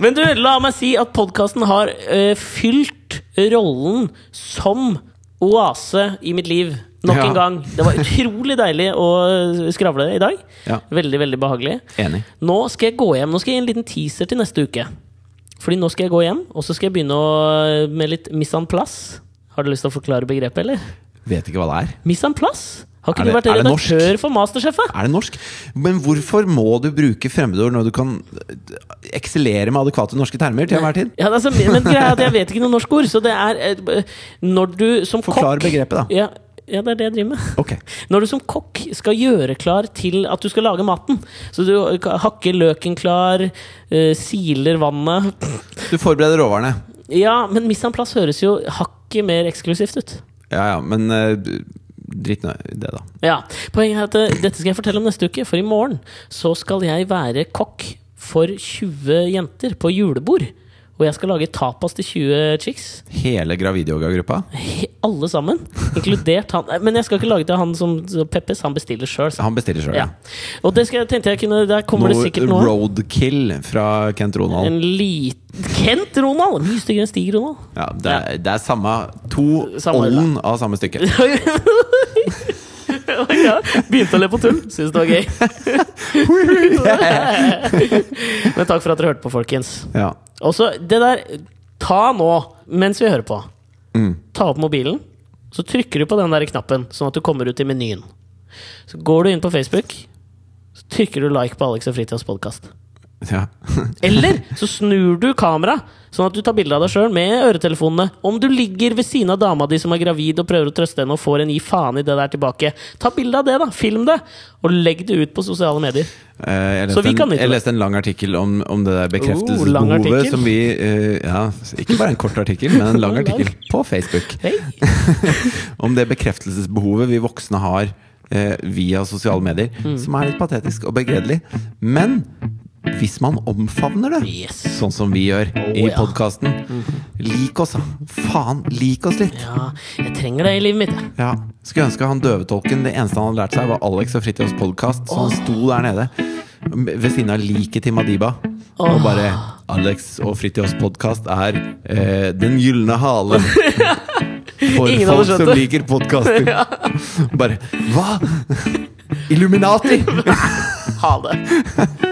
Men du, la meg si at podkasten har eh, fylt rollen som oase i mitt liv. Nok Ja. en gang. Det var utrolig deilig å eh, skravle i dag. Ja. Veldig, veldig behagelig. Enig. Nå skal jeg gå hjem. Nå skal jeg gi en liten teaser til neste uke. Fordi nå skal jeg gå hjem, og så skal jeg begynne å, eh, med litt mise en place. Har du lyst til å forklare begrepet, eller? Vet ikke hva det er. Mise en place? Har ikke Er det- du vært er det norsk? redaktør for Masterchef? da? Er det norsk? Men hvorfor må du bruke fremmedord når du kan eh, eksellere med adekvate norske termer til enhver tid? Ja, altså, men greia er at jeg vet ikke noe norsk ord, så det er eh, Når du som kokk Forklar begrepet, da. Ja, ja, det er det jeg driver med. Ok. Når du som kokk skal gjøre klar til at du skal lage maten Så du hakker løken klar, eh, siler vannet Du forbereder råvarene. Ja, men mise en plass høres jo hakket mer eksklusivt ut. Ja ja, men eh, drit nå i det, da. Ja, Poenget er at eh, dette skal jeg fortelle om neste uke, for i morgen så skal jeg være kokk for 20 jenter på julebord. Og jeg skal lage tapas til 20 chicks. Hele gravidyogagruppa? He- Alle sammen, inkludert han Nei, Men jeg skal ikke lage til han som som Peppes, han bestiller sjøl. Han bestiller sjøl. Ja. Og det skal, jeg- tenkte jeg kunne Der kommer det sikkert noe. Roadkill fra Kent Ronald. En liten Kent Ronald! Mye styggere enn Stig Ronald. Ja, det, er, det er samme To Samme, ånden av samme stykke. ja, begynte å le på tull. Syns det var gøy. Men takk for at dere hørte på, folkens. Ja. Og så det der Ta nå, mens vi hører på. Mm. Ta opp mobilen, så trykker du på den der knappen, sånn at du kommer ut i menyen. Så går du inn på Facebook, så trykker du like på Alex og Fritids podkast. ja. Eller så snur du kameraet, sånn at du tar bilde av deg sjøl med øretelefonene. Om du ligger ved siden av dama di som er gravid og prøver å trøste henne og får en gi faen i det der tilbake, ta bilde av det, da. Film det. Og legg det ut på sosiale medier. Eh, Jeg Så leste, vi kan en, nyte jeg det. leste en lang artikkel om, om det der lang bekreftelsesbehovet artikkel. som vi eh, Ja, ikke bare en kort artikkel, men en lang Lang. artikkel på Facebook. Hei. om det bekreftelsesbehovet vi voksne har eh, via sosiale medier, Mm. som er litt patetisk og begredelig. Men hvis man omfavner det, Yes. sånn som vi gjør i ja. Mm. podkasten Lik oss, da! Faen, lik oss litt! Ja, jeg trenger det i livet mitt, jeg. Ja. Skulle ønske han døvetolken Det eneste han hadde lært seg, var Alex og Fridtjofs podkast, så han sto der nede ved siden av liket til Madiba. Og bare 'Alex og Fridtjofs podkast er eh, Den gylne hale'. For Ingen hadde folk skjønt som det. liker podkaster. Bare Hva?! Illuminati! Ha det.